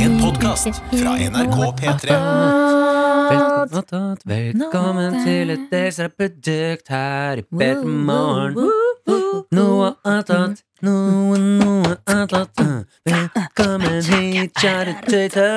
podkast fra NRK P3. Velkommen, velkommen til et ekstra produkt her i Bedre morgen. Noe annet, noe, noe annet. Velkommen hit, kjære tøyte.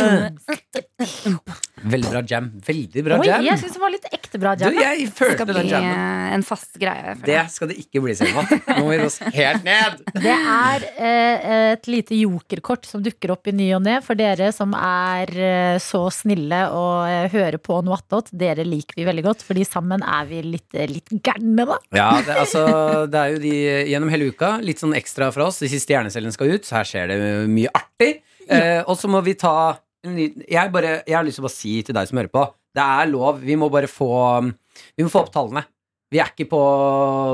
Veldig bra jam. Veldig bra Oi, jam. jeg syns det var litt ekte bra Du, jam. ja. jeg Det skal følte bli den jammen. eh, en fast greie. føler Det jeg. skal det ikke bli, Selma. Nå må vi roe oss helt ned. Det er eh, et lite jokerkort som dukker opp i ny og ne for dere som er eh, så snille og eh, hører på noe attåt. Dere liker vi veldig godt, fordi sammen er vi litt, eh, litt gærne, da. Ja, det, altså, det er jo de gjennom hele uka. Litt sånn ekstra fra oss. De siste hjernecellene skal ut, så her skjer det mye artig. Eh, og så må vi ta en ny- jeg, bare, jeg har lyst til å bare si til deg som hører på, det er lov. Vi må bare få Vi må få opp tallene. Vi er ikke på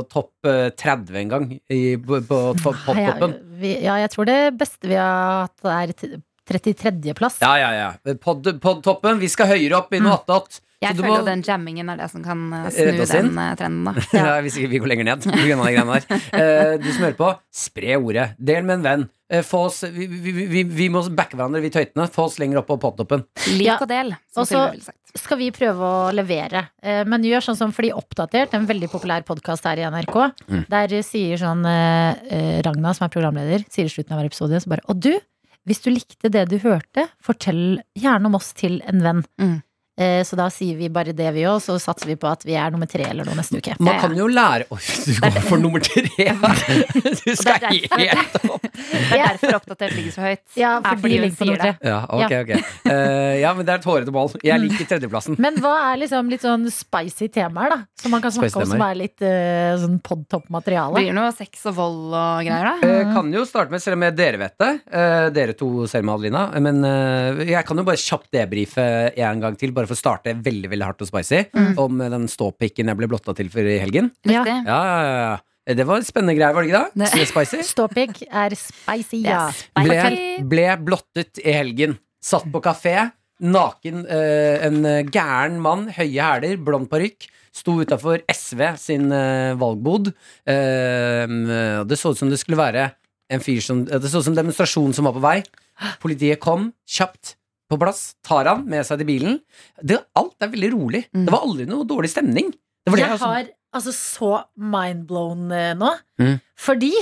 topp eh, 30 engang i- på, på topp- Ja, pop-popen. vi, ja, jeg tror det beste vi har hatt, er t- 33.-plass. Ja, ja, ja. Pod, podtoppen. Vi skal høyere opp i noe attåt. Mm. Jeg Så du føler må- jo den jammingen er det som kan eh, Rett snu oss inn? den eh, trenden. Da. Ja. hvis ikke vi går lenger ned. på grunn av de greiene der. Eh, du som hører på, spre ordet. Del med en venn. Eh, få oss, vi, vi, vi, vi må backe hverandre, vi tøytene. Få oss lenger opp på podtoppen. Lik Ja. og del, som Også- Silje ville sagt. Skal vi prøve å levere? Eh, Men gjør sånn som Fordi Oppdatert, en veldig populær podkast her i NRK, der sier sånn eh, eh, Ragna, som er programleder, sier i slutten av hver episode så bare Og du, hvis du likte det du hørte, fortell gjerne om oss til en venn. Mm. Eh, Så da sier vi bare det, vi òg, så satser vi på at vi er nummer tre eller noe neste uke. Man kan jo lære Oi, du går for nummer tre! Du skal derfor- helt opp. Det er derfor oppdatert ligger så høyt. Ja, Er for de hun ligger på nummer sier tre. det. Ja, ok, ok. Eh, ja, men det er et hårete mål. Jeg liker tredjeplassen. Men hva er liksom litt sånn spicy temaer, da? Som man kan snakke Spicy om, som er litt eh, sånn podtopp-materiale? Blir det noe sex og vold og greier, da? Eh, kan jo starte med, selv om jeg- dere vet det, eh, dere to, Selma og Adelina, eh, men eh, jeg kan jo bare kjapt debrife en gang til, bare for å starte veldig veldig hardt og spicy, om eh, den ståpikken jeg ble blotta til for i helgen. Ja. Riktig. Ja, ja, ja, ja. Eh, Det var en spennende greie, var det ikke det? Det- Med Spicy. Ståpikk er spicy, ja. Yes. Ble, Fortell. ble blottet i helgen. Satt på kafé. Naken, eh, en eh, gæren mann, høye hæler, blond parykk. Sto utafor SV sin eh, valgbod. Eh, og det så ut som det skulle være en fyr som eh, Det så ut som demonstrasjonen som var på vei. Politiet kom kjapt på plass. Tar han med seg til bilen. Det, alt er veldig rolig. Mm. Det var aldri noe dårlig stemning. Det var sånn- det jeg jeg også- har altså så mindblown eh, nå. Mm. Fordi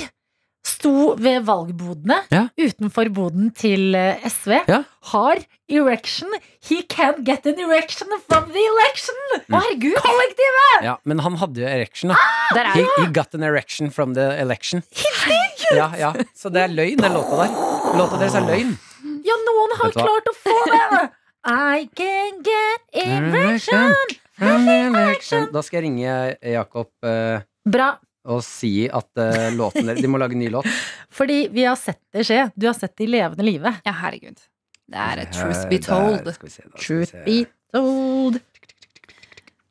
sto ved valgbodene Ja. utenfor boden til eh, SV. Ja. Har erection. He can get an erection from the election! Å, Mm. herregud! Kollektiv! ja, men han hadde jo erection, da. Der er He, he got an erection from the election. Ja, ja. Så det er løgn, den låta der. Låta deres er løgn. Ja, noen har Vet du hva? klart å få det! I can get Mm. erection. Da skal jeg ringe Jakob eh, Bra. og si at eh, låten der, de må lage en ny låt. Fordi vi har sett det skje. Du har sett det i levende live. Ja, herregud. Det er et truth Eh, be der, told. skal vi se, da, skal vi Truth se. be told.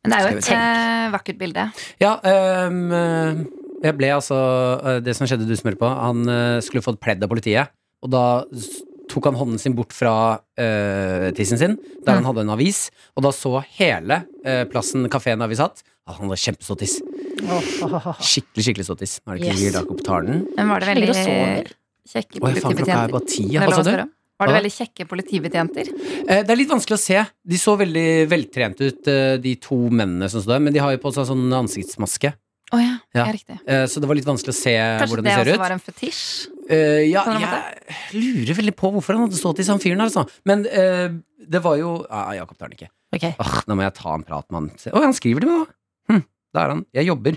Men det er Skal jo vi et tenke. eh, vakkert bilde. Ja, ehm, eh, jeg ble altså eh, Det som skjedde, du som hører på, han eh, skulle fått pledd av politiet, og da s- tok han hånden sin bort fra eh, tissen sin, der Mm. han hadde en avis, og da så hele eh, plassen kafeen der vi satt, at han hadde kjempestor tiss. Åh, åh, åh, åh. Skikkelig, skikkelig stor tiss. Nå er det ikke Yes. sikkert Jakob tar den. Men var det Ligger veldig og sover. kjekke Oi, faen, klokka er politibetjenter? bare ti. Det ja. er Hva lov å sa du? spørre om. Var det Hva da? veldig kjekke politibetjenter? Eh, Det er litt vanskelig å se. De så veldig veltrente ut, eh, de to mennene som står der, men de har jo på seg sånn ansiktsmaske, Å ja, Ja. ja, riktig. Eh, så det var litt vanskelig å se Kanskje hvordan det de ser også ut. var en fetisj? Eh, ja, På en jeg lurer veldig på hvorfor han hadde stått i sånn fyren her, altså. Men eh, det var jo ah, Jakob tar den ikke. Ok. Åh, nå må jeg ta en prat med han. Se- Å, han skriver det med, da. Hm, da er han. Jeg jobber.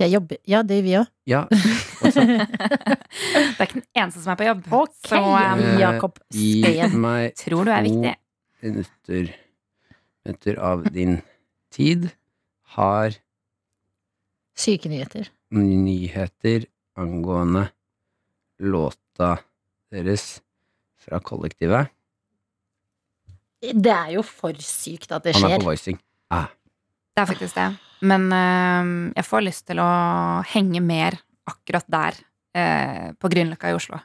Jeg jobber. Ja, det gjør vi òg. Ja. Det er ikke den eneste som er på jobb. Ok, Så um, eh, Jakob Gi Steen. meg tror du er viktig. minutter Minutter av din tid. Har Syke nyheter. nyheter angående låta deres fra kollektivet. Det er jo for sykt at det Han er skjer. på voicing. Det er faktisk det. Men øhm, jeg får lyst til å henge mer akkurat der, eh, på Grünerløkka i Oslo,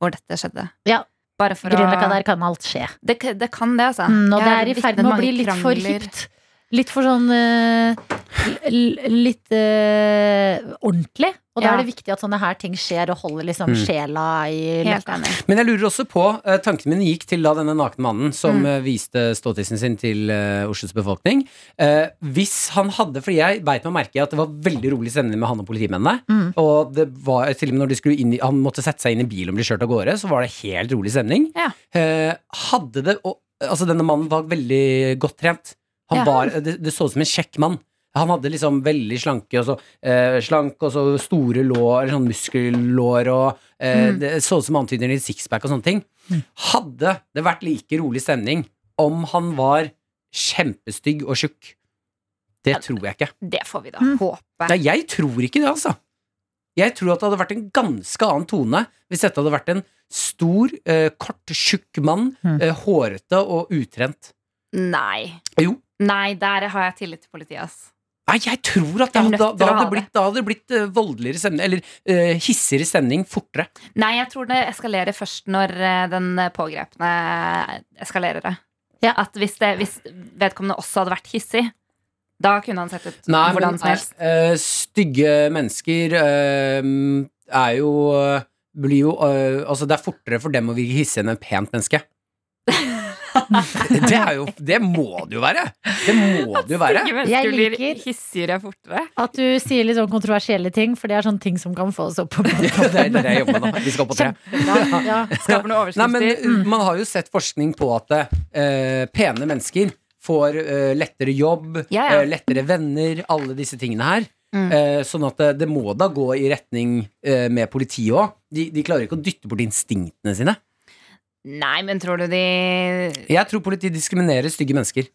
hvor dette skjedde. Ja. Bare for Grünerløkka å der kan alt skje. det, k- det kan det, altså. Mm, og Jeg det er i vitnet ferd med å mange bli litt for krangler. hipt. Litt for sånn eh, l- litt eh, ordentlig. Og da Ja. er det viktig at sånne her ting skjer, og holder liksom Mm. sjela i Helt enig. Men jeg lurer også på eh, Tankene mine gikk til da denne nakne mannen som Mm. eh, viste ståtissen sin til eh, Oslos befolkning. Eh, hvis han hadde Fordi jeg beit meg merke i at det var veldig rolig stemning med han og politimennene. Mm. Og det var til og med når de skulle inn i, han måtte sette seg inn i bilen og bli kjørt av gårde, så var det helt rolig stemning. Ja. Eh, hadde det og, Altså, denne mannen var veldig godt trent. Han Ja. var, det, det så ut som en kjekk mann. Han hadde liksom veldig slanke og så, eh, slank og så store lår, eller sånn muskellår og eh, Mm. Det så ut som antydninger til sixpack og sånne ting. Mm. Hadde det vært like rolig stemning om han var kjempestygg og tjukk? Det tror jeg ikke. Det får vi da Mm. håpe. Nei, jeg tror ikke det, altså. Jeg tror at det hadde vært en ganske annen tone hvis dette hadde vært en stor, eh, kort, tjukk mann, Mm. eh, hårete og utrent. Nei. Jo. Nei, der har jeg tillit til politiet, ass. Nei, jeg tror at det Jeg er hadde, nødt til da, å ha hadde det. blitt, da hadde det blitt eh, voldeligere stemning, eller eh, hissigere stemning fortere. Nei, jeg tror det eskalerer først når eh, den pågrepne eskalerer det. Ja. At hvis, det, hvis vedkommende også hadde vært hissig, da kunne han sett ut hvordan som helst. eh, stygge mennesker eh, er jo eh, blir jo, eh, altså Det er fortere for dem å virke hissig enn et pent menneske. det, er jo, det må det jo være! Det må det jo være. Jeg liker- hissigere fortere. At du sier litt sånn kontroversielle ting, for det er sånne ting som kan få oss opp på Ja, det er det jeg jobber med nå. Vi skal opp på tre. Kjempebra. Ja. Skaper noen Nei, men overskrifter. uh, Man har jo sett forskning på at eh, pene mennesker får eh, lettere jobb, Ja, ja. eh, lettere venner, alle disse tingene her. Mm. Eh, sånn at det, det må da gå i retning eh, med politiet òg. De, de klarer ikke å dytte bort instinktene sine. Nei, men tror du de Jeg tror politiet diskriminerer stygge mennesker.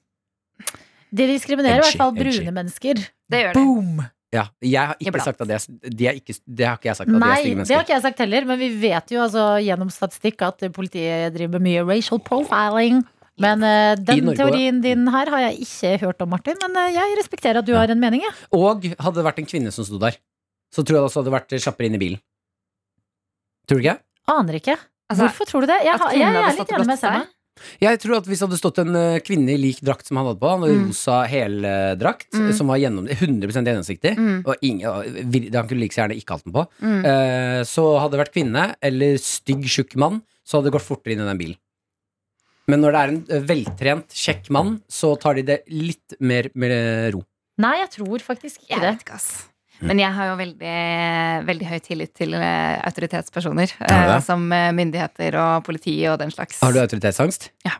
De diskriminerer i Edgy, hvert fall edgy. brune mennesker. Det gjør de. Boom! Ja, jeg har ikke Iblant. sagt at de er, de er ikke, det har ikke jeg sagt at de er Nei, stygge det har mennesker. ikke jeg sagt heller, men vi vet jo altså, gjennom statistikk at politiet driver med mye racial profiling. Men eh, I den Norge teorien din her har jeg ikke hørt om, Martin. Men eh, jeg respekterer at du har en mening, jeg. Og hadde det vært en kvinne som sto der, så tror jeg det også hadde vært kjappere inn i bilen. Tror du ikke? Aner ikke. Altså, Hvorfor tror du det? Jeg, at har, kvinnen jeg, hadde er stått litt og enig med blottet Selma. seg? Jeg tror at hvis det hadde stått en eh, kvinne i lik drakt som han hadde på, han hadde Mm. rosa heldrakt, Mm. som var gjennom, 100 gjennomsiktig, Mm. og ingen, og vir- han kunne like så gjerne ikke hatt den på, Mm. eh, så hadde det vært kvinne eller stygg, tjukk mann, så hadde det gått fortere inn i den bilen. Men når det er en eh, veltrent, kjekk mann, så tar de det litt mer med ro. Nei, jeg tror faktisk ikke Jeg det. vet ikke, ass. Men jeg har jo veldig, veldig høy tillit til eh, autoritetspersoner. Har du eh, det? Som eh, myndigheter og politi og den slags. Har du autoritetsangst? Ja.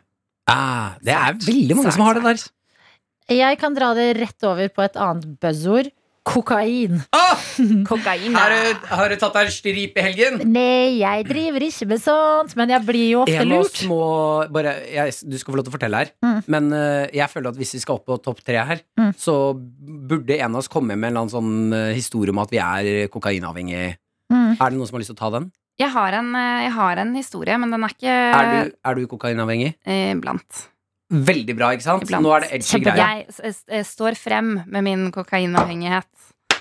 Ah, det er veldig mange som har det der. Jeg kan dra det rett over på et annet buzzord. Kokain. Ah, Kokain. har, ja. du, har du tatt deg en strip i helgen? Nei, jeg driver ikke med sånt, men jeg blir jo ofte En av lurt. oss må bare, jeg, Du skal få lov til å fortelle her, Mm. men eh, jeg føler at hvis vi skal opp på topp tre her, Mm. så burde en av oss komme med en eller annen sånn eh, historie om at vi er kokainavhengig. Mm. Er det noen som har lyst til å ta den? Jeg har, en, eh, jeg har en historie, men den er ikke Er du, er du kokainavhengig? eh, blant. Veldig bra, ikke sant? Iblant. Nå er det edgy Kjempebra. greier. Jeg s- s- eh, står frem med min kokainavhengighet.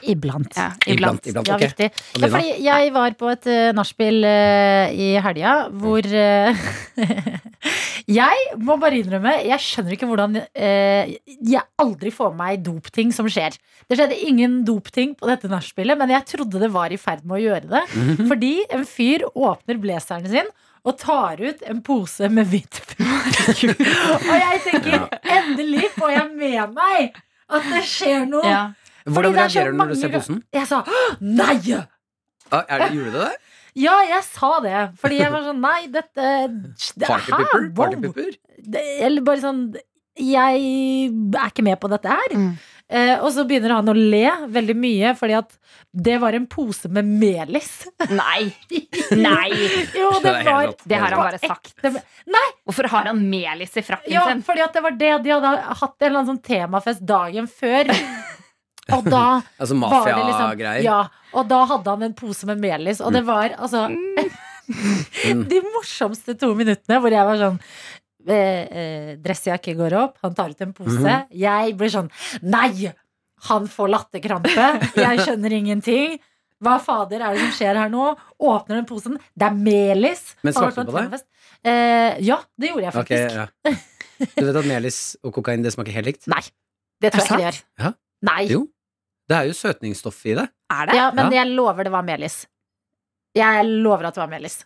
Iblant. Ja, Iblant, iblant. iblant. Ja, ok. viktig. Ja, Adelina? fordi jeg var på et uh, nachspiel eh, i helga hvor eh, Jeg må bare innrømme, jeg skjønner ikke hvordan eh, Jeg aldri får med meg dopting som skjer. Det skjedde ingen dopting på dette nachspielet, men jeg trodde det var i ferd med å gjøre det. Fordi en fyr åpner blazeren sin og tar ut en pose med hvitt pulvergull. og jeg tenker endelig får jeg med meg at det skjer noe. Ja. Hvordan fordi det er så reagerer du når du ser mange- posen? Jeg sa «Åh, nei! Ah, er det, gjorde du det? Ja, jeg sa det. Fordi jeg var sånn Nei, dette det, Partypupper? hæ? Wow. Partypupper? Det, eller bare sånn Jeg er ikke med på dette her. Mm. Eh, og så begynner han å le veldig mye, fordi at det var en pose med melis. Nei! Nei! Jo, Det det er helt var rått. Det har han på bare sagt. ekte- Hvorfor har han melis i frakken Ja, sin? fordi at det var det. De hadde hatt en eller annen sånn temafest dagen før. Og da Altså var det liksom mafiagreier? Ja, og da hadde han en pose med melis, og det var altså Mm. De morsomste to minuttene hvor jeg var sånn eh, eh, Dressjakke går opp, han tar ut en pose. Mhm. Jeg blir sånn Nei! Han får latterkrampe. Jeg skjønner ingenting. Hva fader er det som skjer her nå? Åpner den posen. Det er melis! Men Han har svarte vært du på på en temafest. Eh, ja, det gjorde jeg Ok, faktisk. ja. Du vet at melis og kokain det smaker helt likt? Nei. Det tror jeg ikke det sant? gjør. Ja. Nei. Jo. Det er jo søtningsstoff i det. Er det? Ja, men Ja. jeg lover det var melis. Jeg lover at det var melis.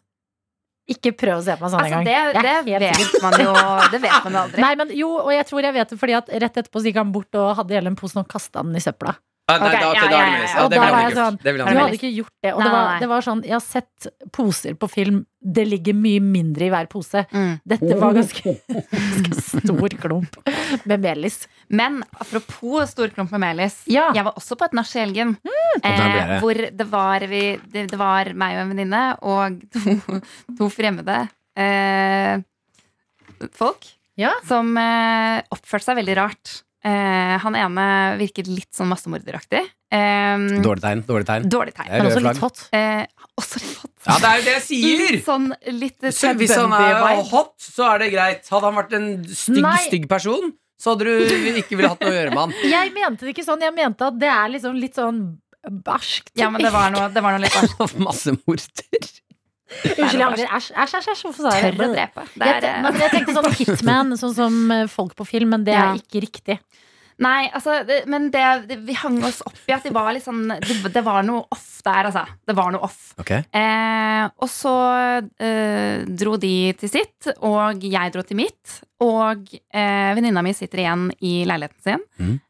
Ikke prøv å se på meg sånn Altså, engang. det, Jeg det er helt sikker. vet man jo Det vet man jo aldri. Nei, men jo, og jeg tror jeg vet det fordi at rett etterpå så gikk han bort og hadde hele den posen og kasta den i søpla. Ah, nei, Ok, da, ok, ja, da er det ja, melis. ja, Ja, ja. det Og vil da han var ikke jeg gjort. sånn, Det vil Du han hadde ikke gjort. ikke gjort det. Og Nei, det var, nei. det var sånn, jeg har sett poser på film, det ligger mye mindre i hver pose. Mm. Dette var ganske, ganske stor klump med melis. Men apropos storklump med melis. Ja. Mm. Jeg var også på et nach i helgen. eh, der ble det. hvor det var, vi, det, det var meg og en venninne og to, to fremmede eh, folk Ja. som eh, oppførte seg veldig rart. Eh, han ene virket litt sånn massemorderaktig. Eh, Dårlig tegn. Dårlig tegn. dårlig tegn. Det er Men også røde litt flagg. hot. Eh, også litt hot. Ja, det er jo det jeg sier! Litt sånn litt Så Hvis han er Bundy-vibe. hot, så er det greit. Hadde han vært en stygg, Nei. stygg person, så hadde du ikke ville hatt noe å gjøre med han. Jeg mente det ikke sånn, jeg mente at det er liksom litt sånn barskt. Ja, men det var noe, det var noe litt barskt. Massemorder. Unnskyld, jeg angrer. Æsj, æsj, æsj, æsj, hvorfor sa jeg Tør å det? drepe. Det Jeg, er, te- eh, nei, men jeg tenkte sånn hitman, sånn som eh, folk på film, men det Ja. er ikke riktig. Nei, altså, det, men det, det, vi hang oss opp i at de var litt sånn Det, det var noe off der, altså. Det var noe off. Eh, og så eh, dro de til sitt, og jeg dro til mitt. Og eh, venninna mi sitter igjen i leiligheten sin Mhm.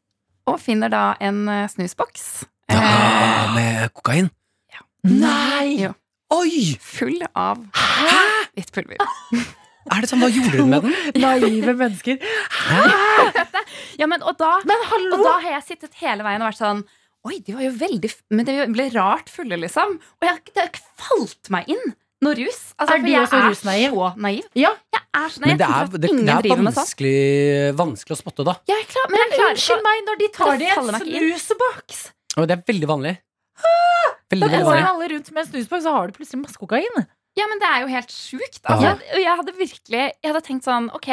og finner da en eh, snusboks. med kokain? Nei! Jo, Oi! full av hvitt pulver. Er det sånn, Hva gjorde hun med den? Naive mennesker. Ja, men, og da Men Og hallo! da har jeg sittet hele veien og vært sånn Oi, de var jo veldig f- Men de ble rart fulle, liksom. Og jeg, har ikke- det har ikke falt meg inn noe rus. Er Altså, for du jeg også er rusnaiv? så naiv. Ja. Jeg er så naiv. Men Jeg det er, tenker at det, ingen det er driver med sånt. vanskelig, vanskelig å spotte, da. Ja, jeg klar, men jeg klarer ikke Unnskyld meg, når de tar Det det i faller meg en ikke inn. snuseboks! Og det er veldig vanlig. Ah! Da Veldig, veldig Altså- går vanlig. alle rundt med en snusboks, så har du plutselig masse kokain. Ja, men det er jo helt sjukt. Ja. Altså, jeg, og jeg hadde virkelig Jeg hadde tenkt sånn, ok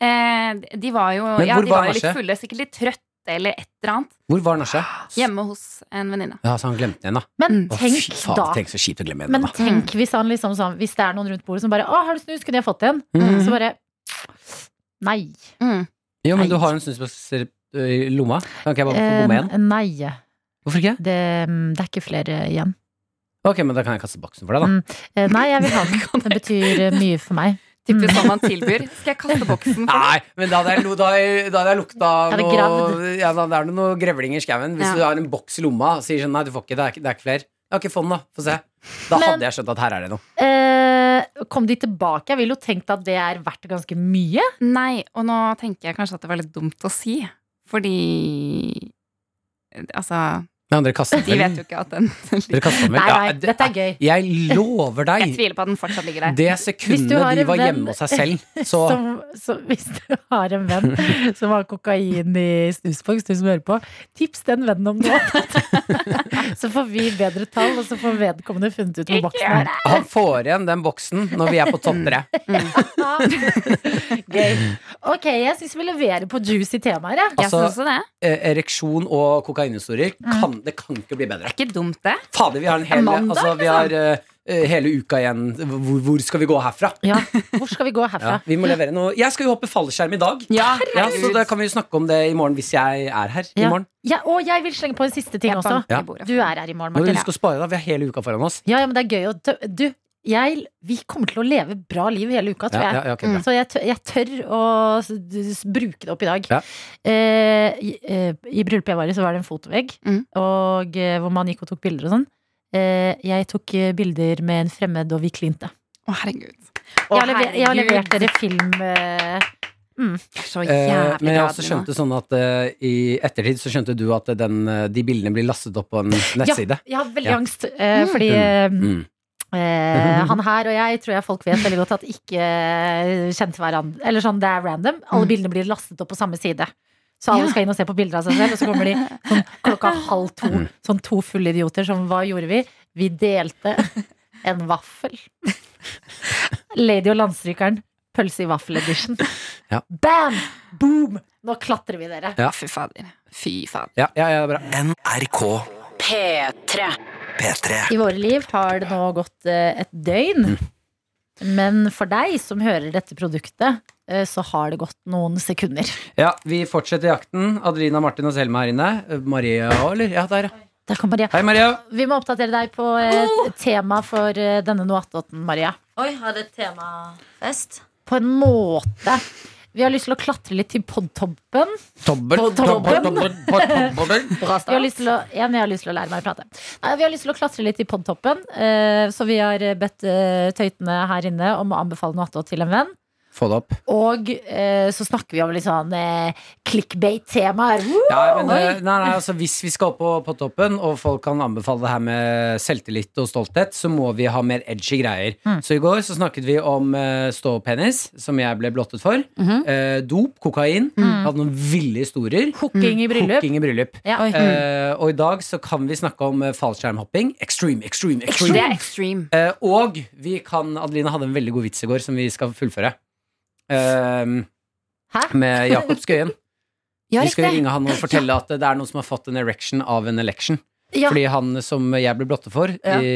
eh, De var jo Men ja, hvor de var var jo litt Asje? fulle, sikkert litt trøtte eller et eller annet. Hvor var nachet? Hjemme hos en venninne. Ja, så han glemte den, da. Men Mm. Å, tenk fy faen, da. tenk så kjipt å glemme den, Men da. tenk hvis han liksom sånn Hvis det er noen rundt bordet som bare 'Å, har du snus? Kunne jeg fått en?' Mm. Så bare Nei. Mm. Jo, men du Nei. har jo en snusboks i lomma. Kan ikke jeg bare få Eh, bomme en? nei. Hvorfor ikke? Det, mm, det er ikke flere igjen. Ok, men da kan jeg kaste boksen for deg, da. Mm. Eh, Nei, jeg vil ha den. Den betyr eh, mye for meg. Typisk Mm. sånn man tilbyr. Skal jeg kaste boksen? for Nei, men da hadde jeg, lo- da hadde jeg, da hadde jeg lukta Hadde noe, ja, da er det noe grevling i skauen. Hvis Ja. du har en boks i lomma og sier sånn Nei, du får ikke, det er ikke, det er ikke flere. Ja, ok, få den, da. Få se. Da Men- hadde jeg skjønt at her er det noe. Eh, kom de tilbake? Jeg vil jo tenkt at det er verdt ganske mye. Nei, og nå tenker jeg kanskje at det var litt dumt å si. Fordi Altså, Nei, dere kastet de den. vet jo ikke at den Dere kastet den Nei, vel? nei, Ja, det- dette er gøy. Jeg lover Jeg deg, tviler på at den fortsatt ligger der. det Hvis du sekundet har de en var venn- hjemme hos seg selv, så Som, så hvis du har en venn som har kokain i snusboks, du som hører på, tips den vennen om nå. så får vi bedre tall, og så får vedkommende funnet ut hvor boksen er. Han får igjen den boksen når vi er på topp tre. Gøy. Ok, jeg syns vi leverer på juicy temaer, jeg. Jeg Altså- synes også det. Eh, ereksjon og kokainhistorier, Mm. kan, det kan ikke bli bedre. Det er ikke dumt, det. Fader, vi har en hel Mandag, altså, vi har, eh, eh, hele uka igjen. Hvor, hvor skal vi gå herfra? Ja. Hvor skal vi gå Ja, herfra? vi må levere noe. Jeg skal jo hoppe fallskjerm i dag. Ja, så da kan vi jo snakke om det i morgen hvis jeg er her. i Ja. morgen Ja, og jeg vil slenge på en siste ting Jeg også. banker i Ja. bordet. Du er her i morgen, Må du Martin. huske å spare, da. Vi har hele uka foran oss. Ja, ja, men det er gøy å tø Du, jeg, vi kommer til å leve bra liv hele uka, tror Ja, jeg. ja, ja, ok, bra. Så jeg tør, jeg tør å s- d- s- bruke det opp i dag. Ja. Eh, i, eh, I bryllupet jeg var i, så var det en fotovegg Mm. og, eh, hvor man gikk og tok bilder og sånn. Eh, jeg tok eh, bilder med en fremmed, og vi klinte. Å, herregud. Jeg Å, har, lever, jeg har herregud. levert dere film eh, Eh, Så jævlig men jeg bra, også Adelina. skjønte sånn at eh, i ettertid så skjønte du at den, eh, de bildene blir lastet opp på en nettside. Jeg har veldig Ja. angst, eh, fordi eh, Mm. Eh, han her og jeg tror jeg folk vet veldig godt at ikke eh, kjente hverandre. Eller sånn, det er random. Alle Mm. bildene blir lastet opp på samme side. Så alle Ja. skal inn og se på bilder av seg selv, og så kommer de sånn, klokka halv to. Mm. Sånn to fulle idioter som hva gjorde vi? Vi delte en vaffel. Lady og landstrykeren. Pølse i vaffel-edition. Ja. Bam! Boom! Nå klatrer vi, dere. Ja. Fy fader. Fy fader. Ja, ja, ja, bra. NRK P3. P3. I våre liv har det nå gått eh, et døgn. Men for deg som hører dette produktet, eh, så har det gått noen sekunder. Ja, vi fortsetter jakten. Adelina, Martin og Selma her inne. Eh, Maria òg, eller? Ja, der, ja. Der kom Maria. Hei, Maria. Vi må oppdatere deg på eh, tema for eh, denne Noattoten, Maria. Oh! Oi, har det temafest? På en måte. Vi har lyst til å klatre litt til podtoppen. Tobbel. På tobbel, toppen. tobbel, på tobbel. Bra Vi har lyst til å, igjen, jeg har lyst til å lære meg å prate. Nei, vi har lyst til å klatre litt i podtoppen, eh, så vi har eh, bedt eh, tøytene her inne om å anbefale noe attåt til en venn. Få det opp. Og eh, så snakker vi om litt sånn eh, clickbait-temaer. Woo! Ja, men, eh, nei, nei, altså, hvis vi skal opp på, på toppen, og folk kan anbefale det her med selvtillit og stolthet, så må vi ha mer edgy greier. Mm. Så i går så snakket vi om eh, ståpenis, som jeg ble blottet for. Mhm. eh, dop, kokain. Hadde noen ville historier. Mm. Mm. Hooking i bryllup. Mm. Hooking i bryllup. Ja. Oi. Eh, og i dag så kan vi snakke om eh, fallskjermhopping. Extreme, extreme, Det extreme. er extreme. Eh, og vi kan Adelina hadde en veldig god vits i går som vi skal fullføre. Eh, Hæ? med Jakob Skøyen. Ja, vi skal jo riktig. ringe han og fortelle at det er noen som har fått en erection av en election. Ja. Fordi han som jeg ble blotte for Ja. i,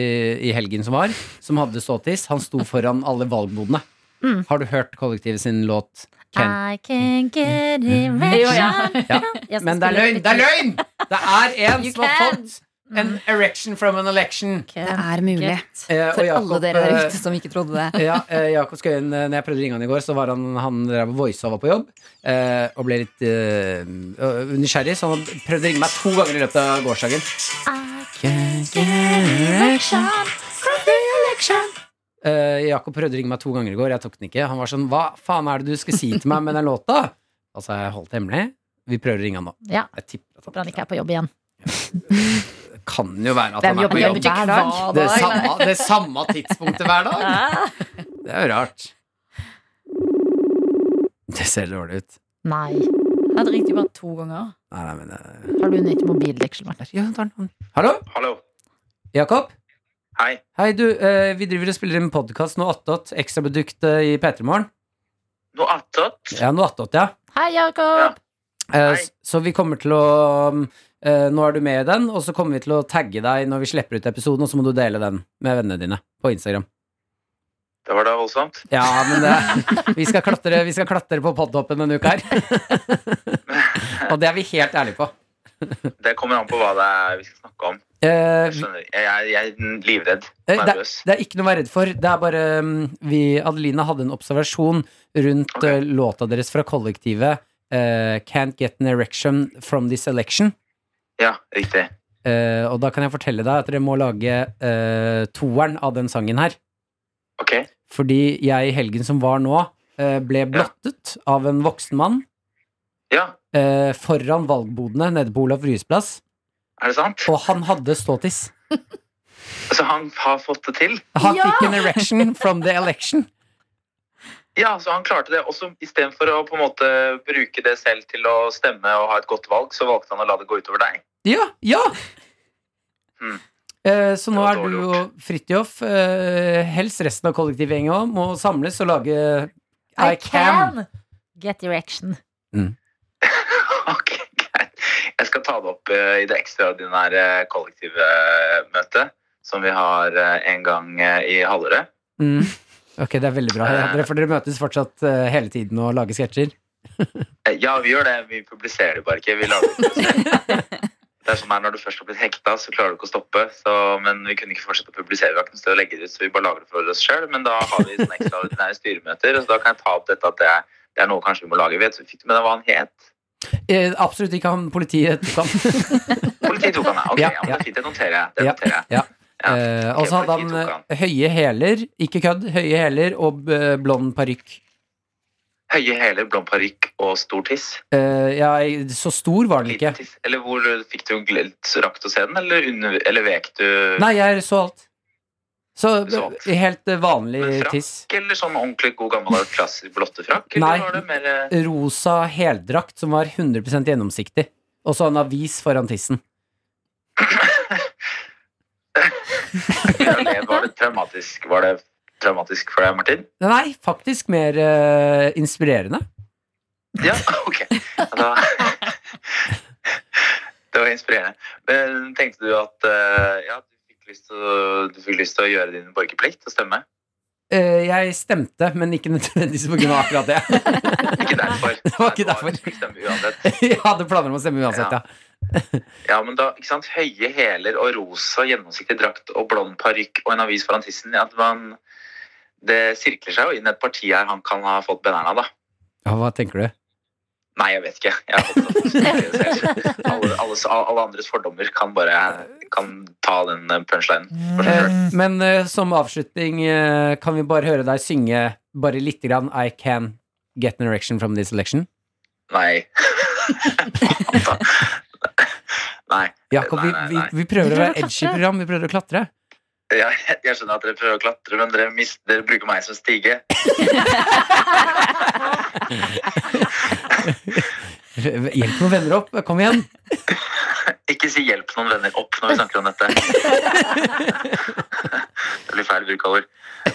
i helgen som var, som hadde ståtiss, han sto foran alle valgbodene. Mm. Har du hørt kollektivet sin låt? Ah, Can. I can get it Jo, ja. Ja. Men det er løgn! Det er løgn! Det er en You som har can. Mm. fått en erection from an election. Det er mulig. Eh, og For alle Jakob, dere der eh, ute som ikke trodde det. ja, eh, Jakob Skøyen, eh, når jeg prøvde å ringe han i går, så var han, han drev og voiceover på jobb. Eh, og ble litt eh, øh, nysgjerrig, så han prøvde å ringe meg to ganger i løpet av gårsdagen. Eh, Jakob prøvde å ringe meg to ganger i går, jeg tok den ikke. Han var sånn Hva faen er det du skal si til meg med den låta? Altså, jeg holdt det hemmelig. Vi prøver å ringe han nå. Ja, Jeg tipper at Håper han ikke er på jobb iggen. han kan jo være at Hvem han er på jobber jobb. ikke hver dag? Det er samme, det er samme tidspunktet hver dag. Hæ? Det er jo rart. Det ser dårlig ut. Nei. Han ringte jo bare to ganger. Nei, nei, men eh, Har du nytt mobildeksel, Martin? Ja, tar den. Hallo? Hallo. Jakob? Hei. Hei, du. eh, vi driver og spiller inn podkast nå attåt. Ekstraprodukt eh, i P3 Morgen. Noe attåt? Ja, nå attåt, ja. Hei, Jakob! Eh, Hei. s- så vi kommer til å um, eh, Nå er du med i den, og så kommer vi til å tagge deg når vi slipper ut episoden, og så må du dele den med vennene dine på Instagram. Det var da voldsomt. Ja, men det, vi, skal klatre, vi skal klatre på podtoppen denne uka her. og det er vi helt ærlige på. Det kommer an på hva det er vi skal snakke om. Eh, Jeg, skjønner. jeg, er- jeg er livredd. Eh, Nervøs. Det er ikke noe å være redd for. Det er bare um, vi, Adelina hadde en observasjon rundt Ok. eh, låta deres fra kollektivet eh, Can't Get An Erection From This Election. Ja, riktig. Eh, og da kan jeg fortelle deg at dere må lage eh, toeren av den sangen her. Ok. Fordi jeg i helgen som var nå, eh, ble blottet av en voksen mann Ja, eh, foran valgbodene nede på Olav Ryes plass, er det sant? og han hadde ståtiss. Så han har fått det til? Han Ja! fikk an erection from the election. Ja, så han klarte det. Også istedenfor å på en måte bruke det selv til å stemme og ha et godt valg, så valgte han å la det gå utover deg. Ja! ja Mm. Eh, Så nå Det var er dårlig du gjort. og Fridtjof, eh, helst resten av kollektivgjengen òg, må samles og lage I, can. Get erection. ok, greit. Jeg skal ta det opp eh, i det ekstraordinære kollektivmøtet eh, som vi har eh, en gang eh, i halvåret. Mm. Ok, det er veldig bra. Ja, dere, for dere møtes fortsatt eh, hele tiden og lager sketsjer. Eh, Ja, vi gjør det. Vi publiserer det bare ikke. Vi lager det. Det er sånn her, Når du først har blitt hekta, så klarer du ikke å stoppe. Så, men vi kunne ikke fortsette å publisere. Vi har ikke noe sted å legge det ut, så vi bare lager det for oss sjøl. Men da har vi sånne ekstraordinære styremøter, og så da kan jeg ta opp dette at det er, det er noe kanskje vi må lage. Vet du fikk du med deg hva han het? Eh, Absolutt ikke han politiet tok han. Politiet tok han, ja. Ok, Ja, ja, men det er fint. Det noterer jeg. Det Ja, noterer jeg. ja. Ja, Eh, ok, Og så hadde politiet han tok eh, høye hæler, ikke kødd, høye hæler og eh, blond parykk. Høye hæler, blond parykk og stor tiss. Eh, Ja, så stor var den ikke. Liten tiss. Eller hvor fikk du glelt, rakk du å se den, eller, under, eller vek du Nei, jeg så alt. Så Så alt. eh, helt eh, vanlig Men frakk? tiss. Eller sånn ordentlig god gammel klassisk blottefrakk? Nei. Eller var det mer eh, rosa heldrakt som var 100 gjennomsiktig. Og så en avis foran tissen. Eller Var det traumatisk? Var det traumatisk for deg, Martin? Nei, faktisk mer eh, inspirerende. Ja, ok. Ja, Da... Det var inspirerende. Men tenkte du at eh, ja, du fikk lyst til å, du fikk lyst til å gjøre din borgerplikt og stemme? eh, jeg stemte, men ikke nødvendigvis på grunn av akkurat det. Ikke derfor. Det var ikke derfor. skulle stemme uansett. Jeg hadde planer om å stemme uansett, ja. Ja, men da, ikke sant, høye hæler og rosa gjennomsiktig drakt og blond parykk og en avis foran tissen, at man Det sirkler seg jo inn et parti her han kan ha fått benærna, da. ja. Hva tenker du? Nei, jeg vet ikke. Jeg har fått det. alle, alle, alle andres fordommer kan bare kan ta den punchlinen. Eh, Men eh, som avslutning eh, kan vi bare høre deg synge bare litt grann I can get an erection from this election. Nei. Nei. Jakob, vi, Nei, nei, vi, nei. vi prøver å Vi prøver å være edgy klatre. program, vi prøver å klatre. Jeg, jeg skjønner at dere prøver å klatre, men dere, mis- dere bruker meg som stige. Hjelp noen venner opp, kom igjen. Ikke si 'hjelp noen venner opp' når vi snakker om dette. det blir feil bruk av ord.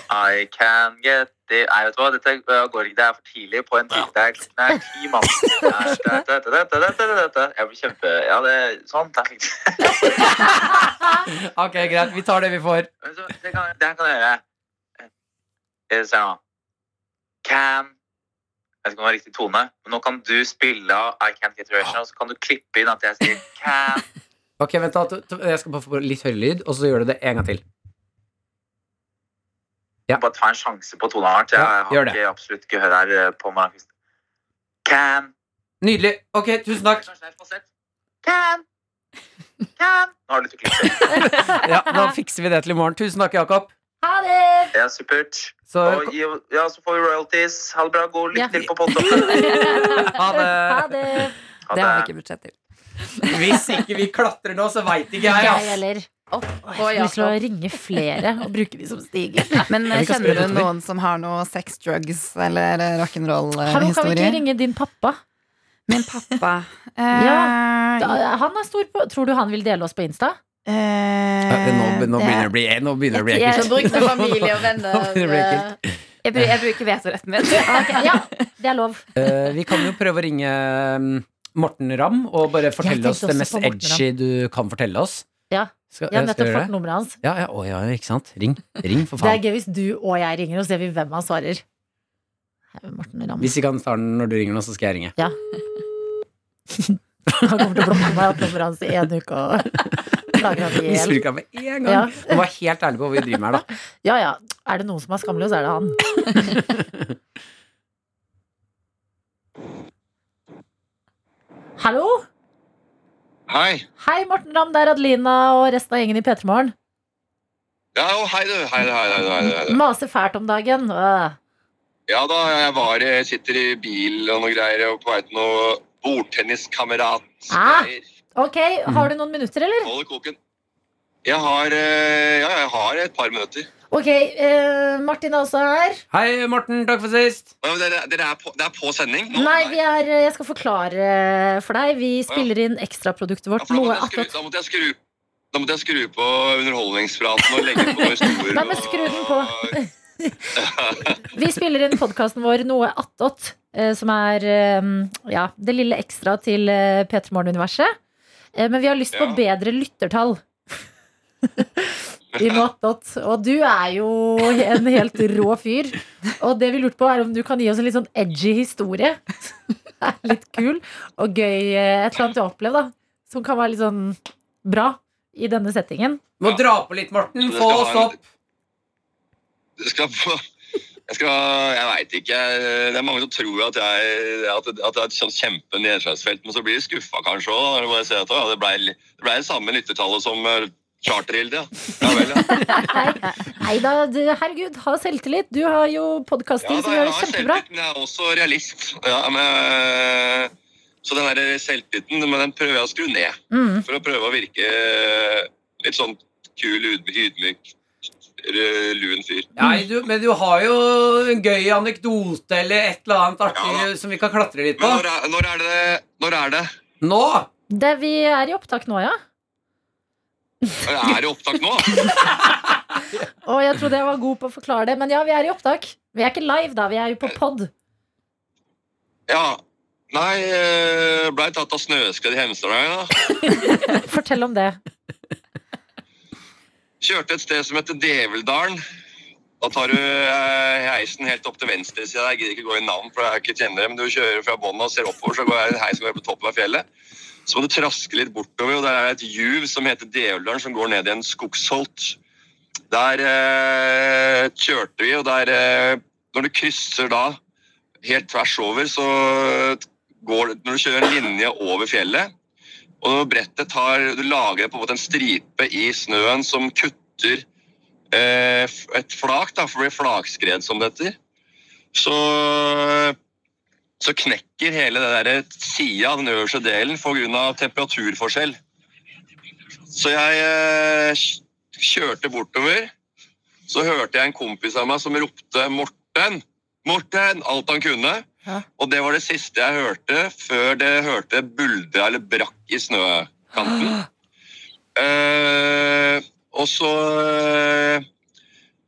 I can get the Nei, vet du hva, dette øh, går ikke. Det er for tidlig på en tid. Det er klokken er ti, mann. Det er- det- det- det- det- det- det- det- det. Jeg blir kjempe... Ja, det Sånn. Det er fint. Ok, greit, vi tar det vi får. Men så, Det kan, det her kan jeg gjøre. Eh, Se nå. Can Jeg vet ikke om det var riktig tone, men nå kan du spille av I Can't Get Ration, og så kan du klippe inn at jeg sier can Ok, vent da, t- t- Jeg skal bare få litt høyere lyd, og så gjør du det en gang til. Ja. Bare ta en sjanse på toneart. Jeg Ja, gjør har det. ikke absolutt gehør her eh, på meg. Can Nydelig. Ok, tusen takk. Kanskje det er falsett. Can Can Nå har du litt å klippe. Ja, Da fikser vi det til i morgen. Tusen takk, Jakob. Ha det! Ja, supert. Så Og gi- ja, så får vi royalties. Ha det bra. God Ja. lykke til på podkasten. ha Ha det. det! Det har vi ikke budsjett til. Hvis ikke vi klatrer nå, så veit ikke jeg, Jeg ass. heller. Opp Jeg og har lyst til å Jakob. ringe flere og bruke de som stiger. Men eh, Ja, vi kan kjenner spille du utover. noen som har noe sex, drugs eller Hallo, kan vi ikke rock'n'roll-historie? ringe din pappa? Min pappa eh, Da, han er stor på Tror du han vil dele oss på Insta? Eh, Nå, nå begynner det å bli eh, Nå begynner det å bli Så bruk med familie og Nå begynner det å bli ekkelt. venner. Jeg, bru- jeg bruker vetoretten min. Ok, ja, det er lov. Eh, vi kan jo prøve å ringe mm, Morten Ramm og bare fortelle tenkte oss det også mest på Morten edgy du kan fortelle oss. Ja. Skal, Jeg har eh, skal nettopp vi gjøre fått det? nummeret hans. Ja, ja, å, ja, ikke sant? Ring, ring for Det er faen. gøy hvis du og jeg ringer, og så ser vi hvem han svarer. Her er Morten Ramm. Hvis ikke han tar den når du ringer nå, så skal jeg ringe. Han kommer til å blokke meg opp nummeret hans i en uke og lage han i hjel. Misbruker han med en gang. Ja. Og var helt ærlig på hva vi driver med her, da. Ja ja, er det noen som er skamløs, er det han. Hallo? Hei. Hei, Morten Ramm. Det er Adelina og resten av gjengen i P3 Morgen. Ja, jo, hei du. Hei, du, hei, du, hei, du, hei, du. Maser fælt om dagen. Øh. Ja da, jeg var, jeg sitter i bil og noe greier og på vei til noe bordtenniskamerat. Ah. greier. Ok, har du noen minutter, eller? Hold i koken. Jeg har, eh, ja, jeg har et par minutter. Ok, eh, Martin er også her. Hei, Morten. Takk for sist. Å, ja, Dere, dere er på, det er på sending nå? Nei, vi er, eh, jeg skal forklare eh, for deg. Vi spiller inn ekstraproduktet Ja, vårt. for da, Noe måtte jeg skru, attåt. da, måtte jeg skru, da måtte jeg skru på underholdningspraten og legge på noen historier. Nei, men skru den på. og- Vi spiller inn podkasten vår Noe attåt, eh, som er eh, ja, det lille ekstra til eh, P3 Morgen-universet. Eh, men vi har lyst på Ja. bedre lyttertall. I noe attåt. Og du er jo en helt rå fyr. Og det vi lurte på, er om du kan gi oss en litt sånn edgy historie. Det er litt kul og gøy. eh, Et eller annet du har opplevd, da. Som kan være litt sånn bra i denne settingen. Må dra på litt, Morten. Du Få skal oss ha en- opp. Du skal få... Jeg skal, jeg vet ikke. Det er mange som tror at jeg, at, at jeg er et sånn kjempenedslagsfelt, men så blir de skuffa kanskje òg. Når de bare ser at å, ja, det ble, li- det ble det samme lyttertallet som eh, Chartergildet, ja. Ja vel, ja. Nei da, du- herregud, ha selvtillit. Du har jo ja podkasting som da, gjør jeg det har kjempebra. selvtillit, men jeg er også realist. Ja, men, eh, så den der selvtilliten men den prøver jeg å skru ned. Mm. For å prøve å virke eh, litt sånn kul, yd- ydmyk, r- lun fyr. Nei, du, men du har jo en gøy anekdote eller et eller annet Ja, artig som vi kan klatre litt på. Men når er, når er det Når er det? Nå! Det, vi er i opptak nå, ja. Er det opptak nå? Og jeg trodde jeg var god på å forklare det, men ja, vi er i opptak. Vi er ikke live, da. Vi er jo på pod. Ja. Nei, eh, blei tatt av snøskred i Hemsedal. ja. Fortell om det. Kjørte et sted som heter Develdalen. Da tar du eh, heisen helt opp til venstre side. Jeg gidder ikke gå i navn, for jeg ikke kjenner det, men du kjører fra bånn og ser oppover, så går jeg en heis som går på toppen av fjellet. Så må du traske litt bortover, og der er det et juv som heter Deoldalen, som går ned i en skogsholt. Der eh, kjørte vi, og der eh, Når du krysser da helt tvers over, så går det Når du kjører en linje over fjellet, og brettet tar Du lager på en måte en stripe i snøen som kutter eh, f- et flak, da, for det blir flakskred som det heter. Så, så knekker hele det der sida, den øverste delen, pga. temperaturforskjell. Så jeg eh, kj- kjørte bortover. Så hørte jeg en kompis av meg som ropte 'Morten', 'Morten', alt han kunne. Hæ? Og det var det siste jeg hørte før det hørte buldra eller brakk i snøkanten. Eh, og så eh,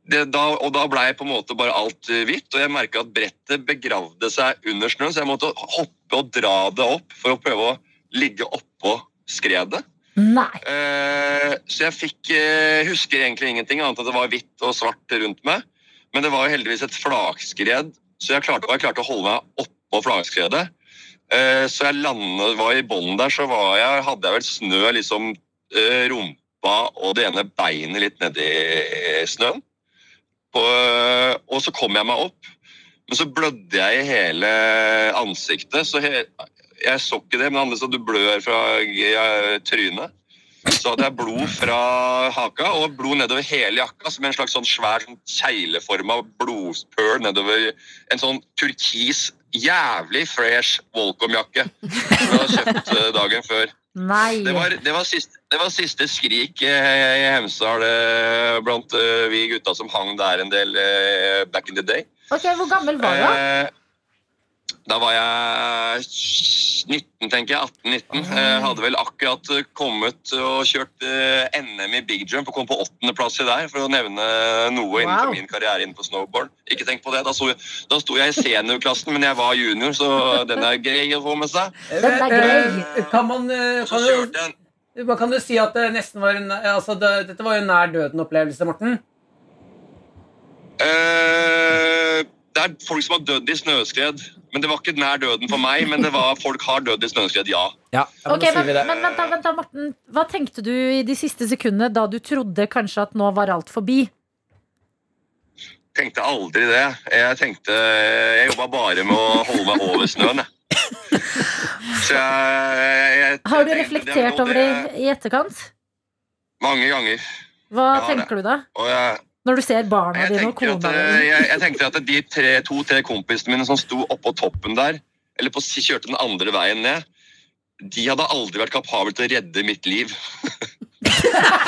det, da, Og da blei på en måte bare alt eh, hvitt, og jeg merka at brettet begravde seg under snøen, så jeg måtte hoppe og dra det opp for å prøve å ligge oppå skredet. Nei. Eh, så jeg fikk eh, husker egentlig ingenting annet enn at det var hvitt og svart rundt meg. Men det var jo heldigvis et flakskred, så jeg klarte, og jeg klarte å holde meg oppå flakskredet. Eh, så jeg landet, var i bånn der, så var jeg, hadde jeg vel snø liksom eh, rumpa og det ene beinet litt nedi snøen. På, eh, og så kom jeg meg opp, men så blødde jeg i hele ansiktet. Så he, jeg så ikke det, men andre sa du blør fra eh, trynet. Så hadde jeg blod fra haka og blod nedover hele jakka, som en slags sånn svær sånn kjegleforma blodpøl nedover en sånn turkis, jævlig fresh Volcom-jakke som jeg hadde kjøpt eh, dagen før. Nei. Det var, det var, siste, det var siste skrik eh, i Hemsedal eh, blant eh, vi gutta som hang der en del eh, back in the day. Ok, Hvor gammel var du? da? Eh, Da var jeg 19, tenker jeg. 18-19. Eh, Hadde vel akkurat eh, kommet og kjørt eh, NM i big jump og kom på åttendeplass i der, for å nevne noe innenfor Wow. min karriere innen på snowboard. Ikke tenk på det. Da sto, da sto jeg i seniorklassen, men jeg var junior, så den er grei å få med seg. Den er grei. Eh, Kan man eh, Så kan kjørte jeg en jo- man kan jo si at det nesten var en altså, det, Dette var jo en nær døden-opplevelse, Morten. Eh, det er folk som har dødd i snøskred. Men det var ikke nær døden for meg, men det var folk har dødd i snøskred, ja. Ja, da Ok, sier men, vi det. men vent da, vent da, Morten. Hva tenkte du i de siste sekundene da du trodde kanskje at nå var alt forbi? Tenkte aldri det. Jeg tenkte Jeg jobba bare med å holde meg over snøen, jeg. Så jeg, jeg, jeg Har du tenkte, det reflektert var over det i etterkant? Mange ganger. Hva Ja, det. tenker du da? Og jeg, Når du ser barna jeg, dine og tenker kona at, eh, dine? jeg, jeg tenkte at de tre, to-tre kompisene mine som sto oppå toppen der, eller på, si- kjørte den andre veien ned, de hadde aldri vært kapabel til å redde mitt liv.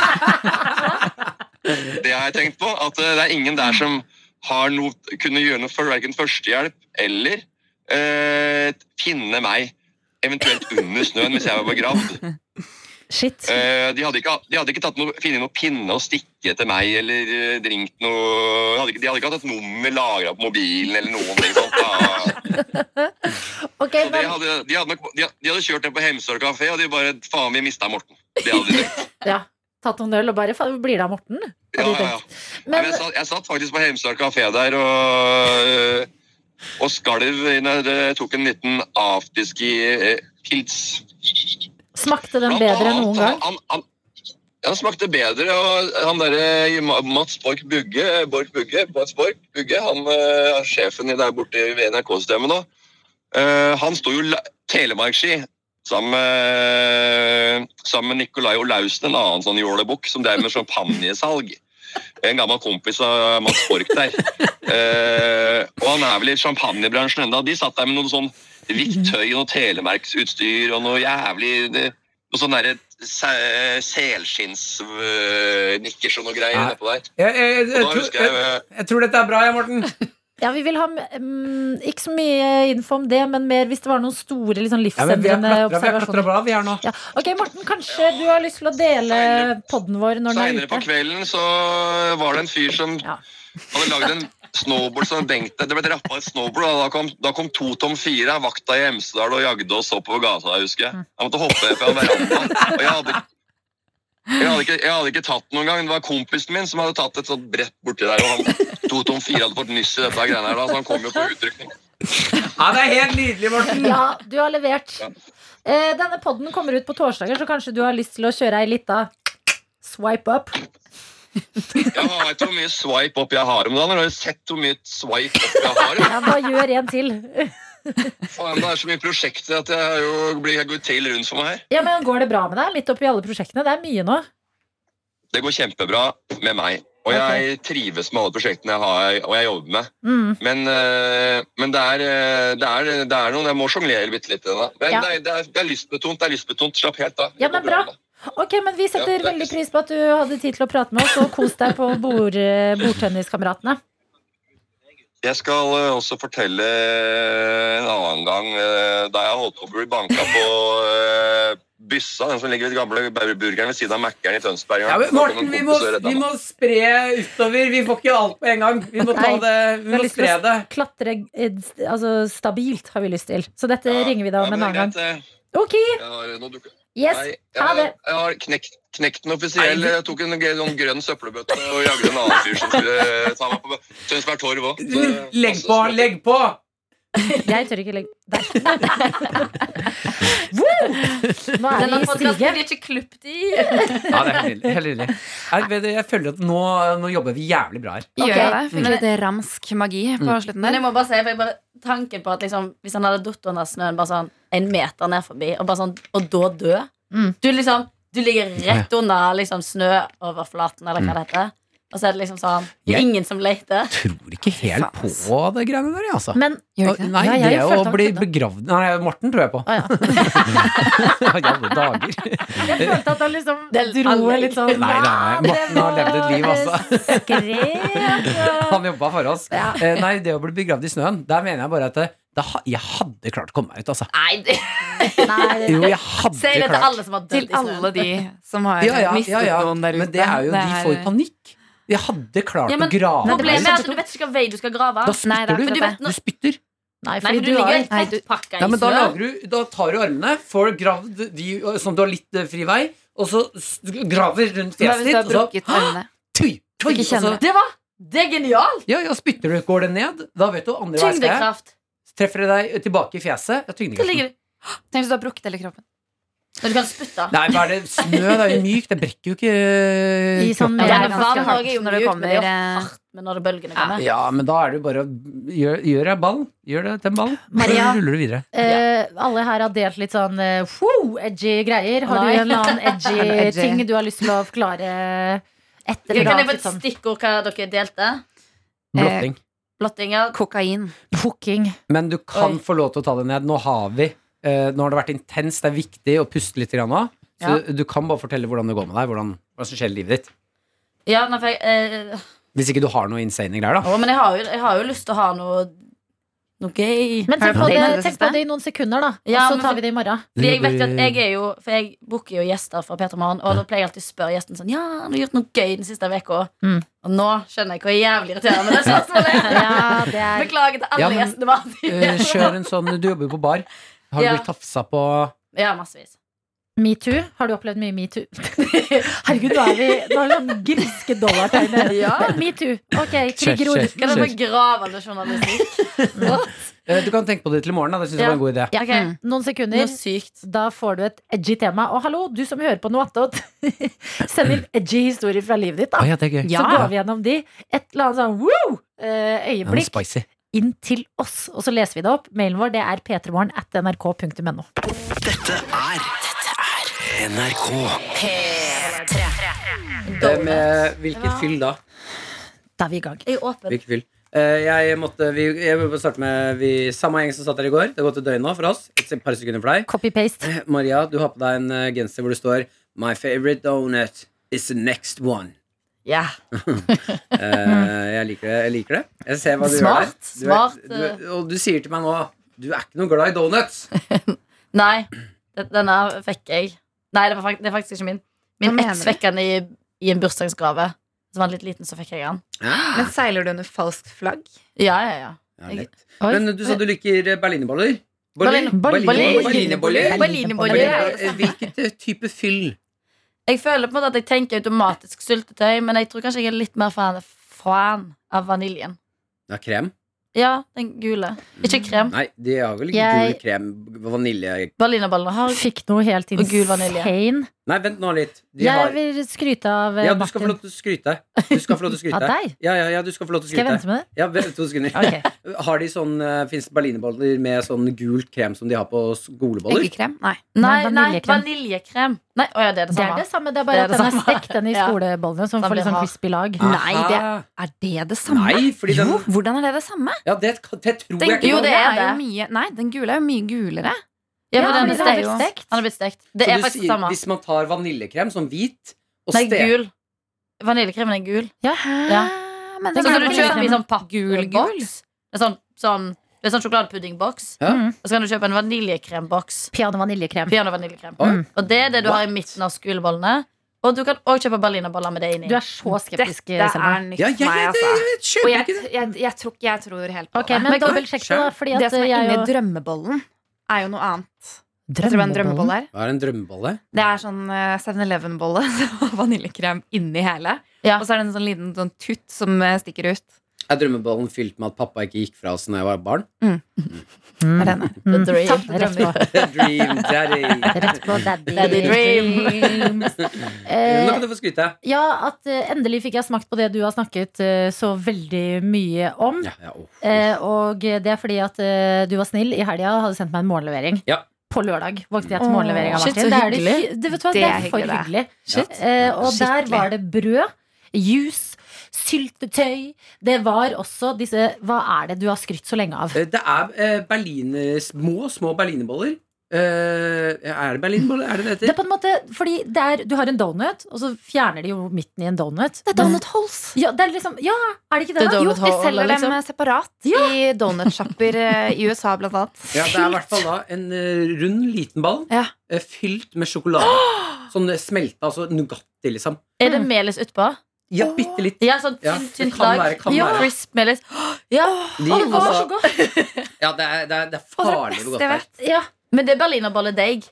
det har jeg tenkt på. At eh, det er ingen der som har noe, kunne gjøre noe for verken førstehjelp eller eh, finne meg. Eventuelt under snøen hvis jeg var begravd. Shit. Eh, de hadde ikke, de hadde ikke tatt noe, funnet noe pinne å stikke til meg eller eh, drinkt noe De hadde ikke, de hadde ikke hatt et nummer lagra på mobilen eller noen ting sånt. Da. Ok, Så de, men, hadde, de, hadde, nok- de, hadde- de hadde kjørt ned på Hemsedal kafé, og de bare Faen, vi mista Morten. Det hadde de tenkt. ja, Tatt noen øl og bare "Faen, Blir det av Morten? Ja, hadde de ja, ja. tenkt. Nei, Men men jeg, satt, jeg satt faktisk på Heimstad kafé der og, eh, og skalv når jeg tok en liten eh, afterski-pils. smakte den bedre enn noen gang? Han, han, ja, den smakte bedre, og han der eh, Ma- Mats Borch Bugge, eh, Borch Bugge, Mats Borch Bugge, han eh, er sjefen i- der borte i NRK-systemet nå, Eh, han sto jo la- telemarkski sammen med, sammen med Nikolai Olausen, en annen sånn jålebukk som drev med champagnesalg. En gammel kompis av Mats Borch der. Eh, og han er vel i champagnebransjen ennå. De satt der med noe sånn vikttøy og noe telemarksutstyr og noe jævlig det- noe sånn derre selskinnsnikkers og noe greier Nei. nedpå der. Jeg, jeg, jeg, Og da tror, husker jeg jeg, eh, jeg tror dette er bra, jeg, Morten. Ja, vi vil ha mm, Ikke så mye info om det, men mer hvis det var noen store liksom, Ja, men vi har klatra, livsendrende vi har klatra observasjoner. bra, vi her nå. Ja. Ok, Morten, kanskje du har lyst til å dele Seinere. podden vår når den Seinere er på ute? kvelden så var det en fyr som Ja. hadde lagd en snowboard som hadde benkt Det ble rappa et snowboard, og da kom, da kom to tom fire av vakta i Mm. Hemsedal og jagde oss oppover gata, jeg husker jeg. Jeg måtte hoppe ned fra verandaen. Og jeg hadde Jeg hadde, ikke, jeg hadde ikke tatt den noen gang. Det var kompisen min som hadde tatt et sånt brett borti der. Og han to tom fire hadde fått nyss i dette greiene her da, så han kom jo på utrykning. Ja, det er helt nydelig, Morten! Ja, du har levert. Eh, denne podden kommer ut på torsdager, så kanskje du har lyst til å kjøre ei lita swipe up. Ja, vet du hvor mye swipe opp jeg har om dagen? Har du sett hvor mye swipe opp jeg har? Ja, bare gjør en til. Faen, det er så mye prosjekter at jeg jo blir jeg går tail rundt for meg her. Ja, men Går det bra med deg? Midt oppi alle prosjektene? Det er mye nå. Det går kjempebra med meg. Og jeg trives med alle prosjektene jeg har og jeg jobber med. Mm. Men, øh, men det, er, øh, det, er, det er noen Jeg må sjonglere bitte litt. Da. Men Ja. det, er, det, er, det er lystbetont. det er lystbetont. Slapp helt av. Ja, men bra. Ok, men Vi setter Ja, det er- veldig pris på at du hadde tid til å prate med oss, og kos deg på bord, eh, bordtenniskameratene. Jeg skal eh, også fortelle en annen gang eh, da jeg holdt på å bli banka på eh, Byssa, den som ligger ved gamle burgeren ved siden av Mækkern i Tønsberg. Ja, men Morten, vi må, vi må spre utover. Vi får ikke alt på en gang. Vi må, ta Nei, det, vi har må lyst til å spre det. Klatre eh, st- altså, stabilt har vi lyst til. Så dette ringer vi da om en annen gang. eh, Ok, yes. Nei, Ha jeg, det. jeg har knekt, knekt den offisiell. Nei, Jeg tok en gre- sånn grønn søppelbøtte og jagde en annen fyr som skulle eh, ta meg på Tønsberg Torv òg. Legg på, legg på! Jeg tør ikke legge Der. Woo! Nå er Denne vi i podkasten stiget. blir ikke klippet i. Ja, det er helt nydelig. Helt nydelig. Jeg, vet du, jeg føler at nå, nå jobber vi jævlig bra her. Gjør Ok. jeg det? Fikk Mm. litt ramsk magi på Mm. slutten der. Men jeg må bare si, for jeg bare, tanken på at liksom, hvis han hadde datt under snøen bare sånn en meter ned forbi, og, bare sånn, og da dø Mm. Du liksom, du ligger rett under liksom, snøoverflaten, eller hva det heter. Og så er det liksom sånn Jeg- Ingen som leter. Tror ikke helt Faen, ass. på det greiene der, jeg, altså. Men Gjør jeg ikke det? Nei, Ja, jeg det å følte han bli kunne. begravd Nei, Morten tror jeg på. Å ja. I alle dager. jeg følte at han liksom Det er dro alle- litt sånn Nei, nei, nei. Morten har levd et liv, altså. Skrev Han jobba for oss. Eh, Nei, det å bli begravd i snøen, der mener jeg bare at det, da ha- jeg hadde klart å komme meg ut, altså. Nei, det, Nei, Jo, jeg hadde si det til klart. alle som har dødd Til i alle snøen. de som har Ja, ja, mistet ja, ja. noen der ute. Men det er jo, de får jo panikk. Jeg hadde klart Ja, men å grave Problemet meg er ut. at du vet ikke hvilken vei du skal grave. Da Nei, det er spytter akkurat du. det. Du spytter. nei, Nei, fordi for du du ligger har helt Nei, tett du- pakka Nei, i men da, snø. lager du, da tar du armene, får gravd de som du har litt eh, fri vei, og så s- graver rundt Men fjeset hvis du ditt, har og så brukket øynene tøy, tøy, og Ikke så kjenner Det var Det er genialt! ja, ja, spytter du, går det ned, da vet du andre vei skal jeg. Tyngdekraft. Treffer det deg tilbake i fjeset, ja, Det tyngdekraften. ligger Tenk hvis du har brukket hele kroppen. Når du kan spytte. Nei, hva er det? Snø, det er jo mykt, det brekker jo ikke eh, I sånn kroppen. Det er ganske vann hardt også er jo når det mjukt, men det er jo kommer, eh, hardt med når det bølgene kommer. Ja, men da er det jo bare å gjøre gjør deg ball. Gjør det til en ball, så Maria. ruller du videre. Eh, alle her har delt litt sånn eh, wow, edgy greier. Har Nei. du en annen edgy, En edgy. ting du har lyst til å forklare etter Kan jeg få litt et sånn stikkord hva dere delte? Blotting. Blotting, ja. Kokain. hooking? Men du kan Oi. få lov til å ta det ned. Nå har vi eh, Nå har det vært intenst, det er viktig å puste litt grann nå. Så du kan bare fortelle hvordan det går med deg, hvordan, hva som skjer i livet ditt. ja nei, for jeg, eh, Hvis ikke du har noe insane greier, da. å, men jeg har, jo, jeg har jo lyst til å ha noe Noe gøy. Men tenk Har du på, fått det, date i det tenk på siste? det i noen sekunder, da. Og Ja, så men tar for- vi det i morgen. Fordi jeg vet jo at jeg er jo For jeg booker jo gjester fra Peter Morgen, og da pleier jeg alltid å spørre gjesten sånn Ja, har du gjort noe gøy den siste uka? Mm. Og nå skjønner jeg hvor jævlig irriterende det spørsmålet er. Ja, Øh, det er Beklager til alle Ja, men, gjestene våre. Eh, Kjør en sånn Du jobber jo på bar. Har du Ja. blitt tafsa på Ja, massevis. metoo. Har du opplevd mye metoo? Herregud, nå er vi nå er det sånn griske dollartegn her. Men Metoo. Ok, Kjør, triggerord. kjør. Hva er det for gravende journalistikk? Eh, Du kan tenke på det til i morgen, da. Det syns jeg Ja. var en god idé. Ja, Mm. Ok, Noen Noe sekunder. sykt. Da får du et edgy tema. Og hallo, du som hører på noe attåt. Send inn edgy historier fra livet ditt, da. Å ja, det er gøy. Så går vi gjennom de. Et eller annet sånn woo! eh, Ja, det er Øyeblikk spicy. inn til oss, og så leser vi det opp. Mailen vår det er p3morgen at nrk.no. Eh, Med hvilken Ja. fyll da? Da er vi i gang. Jeg er åpen. Hvilken fyll? Eh, Jeg måtte vi, Jeg vil bare starte med vi, samme gjeng som satt her i går. Det har gått et døgn nå for oss. Et par sekunder for deg. Copy-paste. Maria, du har på deg en eh, genser hvor det står My favorite donut is the next one. Ja. Eh, jeg liker det. Jeg liker det Jeg ser hva du Smart, gjør der. smart, Du er, eh. du, og du sier til meg nå du er ikke noe glad i donuts. Nei, den- denne fikk jeg. Nei, det, var fakt det er faktisk ikke min. Min Hva mener du? eks fikk den i, i en bursdagsgave. Som var litt liten, så fikk jeg den. Ah, Men seiler du under falskt flagg? Ja, ja, ja. ja, lett. Oi. Men du sa du liker eh, berlinerboller. Boller? Berlin- Berlin- Berlin- Berlinerboller? Berlinerboller. Eh, Hvilket eh, type fyll? Jeg føler på en måte at jeg tenker automatisk syltetøy, men jeg tror kanskje jeg er litt mer fan, fan av vaniljen. Ja, krem? Ja, den gule. Ikke krem. Nei, de har vel ikke Jeg- gul krem, vanilje Berlinerbollene har Fikk noe helt Og gul vanilje. insane. Nei, vent nå litt. De Jeg har... vil skryte av eh, Ja, du skal få Martin. lov til å skryte. Du skal få lov til å Av skryte. deg? Ja, ja, ja, du skal få lov til å Skal jeg skryte. vente med det? Ja, vent to sekunder. Ok. Har de sånn, Fins det berlinerboller med sånn gult krem som de har på skoleboller? Eggekrem? Nei. Nei, Nei, nei, vaniljekrem. vaniljekrem. Nei, å ja, det er det Det er samme. det samme, det er bare Det er det at den er samme. stekt, den i Ja. skolebollene, så den Den får litt blir sånn hard. crispy lag. Aha. Nei, Er det det samme? Nei, fordi den Jo, hvordan er det det samme? Ja, det, det tror Den jeg ikke. Jo, på. gule det er er jo det. mye Nei, den gule er jo mye gulere. Ja, Ja, for den men er den er stekt. jo stekt. Den er blitt stekt. Det Så er du faktisk det sier, samme. Hvis man tar vaniljekrem, sånn hvit, og Nei, steker gul. Vaniljekremen er gul. Ja. Ja. Ah, Men Sånn den som er du ikke liksom kjøper i sånn Gul, gul. pappboks. Det er sånn, sånn, det er sånn sjokoladepuddingboks. Ja. Mm. Og så kan du kjøpe en vaniljekremboks. Piano vaniljekrem. Piano vaniljekrem. Oi. Mm. Og det er det du har i What? midten av skolebollene. Og du kan òg kjøpe berlinerboller med det inni. Du er så skeptisk, Dette Selma. er nytt Ja, for jeg, meg, jeg, altså. jeg, jeg sånn Og kjøper jeg, ikke det. jeg, jeg, tror ikke jeg tror helt på Ok, det. men Men dobbeltsjekk det, da. kanskje. Fordi det at som er jeg inni jo drømmebollen, er jo noe annet. Vet du hva en drømmebolle er? Hva er en drømmebolle? Det er sånn eh, 7-Eleven-bolle med vaniljekrem inni hele. Ja. Og så er det en sånn liten sånn tutt som eh, stikker ut. Er drømmebollen fylt med at pappa ikke gikk fra oss da jeg var barn? Mm. Er denne. Mm. The dream. Tapte Rett på. Dream daddy. Rett på daddy. Daddy dreams. Nå Eh, kan du få skryte. ja, at eh, endelig fikk jeg smakt på det du har snakket eh, så veldig mye om. Ja, ja, åh. Eh, og det er fordi at eh, du var snill i helga og hadde sendt meg en morgenlevering. Ja. På lørdag våknet jeg til Åh, morgenlevering av shit, Martin. så Det er det hyggelig. hy- Det, vet du hva, Det det er er for hyggelig. hyggelig. Shit. Eh, og der Skikkelig. var det brød, juice, syltetøy. Det var også disse Hva er det du har skrytt så lenge av? Eh, Det er eh, berliner, små, små berlinerboller. Eh, er det berlinerboller? Er det det Det er heter? på en måte, fordi det er, Du har en donut, og så fjerner de jo midten i en donut. Det er donut holes. Ja, det er liksom, ja, er det ikke det? Det er da? donut jo, Jo, de hole, selger liksom. dem eh, separat i donutsjapper eh, i USA, blant annet. Ja, det er i hvert fall da en eh, rund, liten ball Ja. eh, fylt med sjokolade. Sånn eh, smelta, altså Nugatti, liksom. Er det melis utpå? Ja, bitte litt. Ja, sånn Ja, tynt, det tynt kan lag. være, kan ja, være. crisp melis. Ja. De, Å, det var altså- så godt. Ja, det er, det er, det er Og det er farlig best hvor godt jeg det er. vet. Ja, Men det er berlinerbolledeig.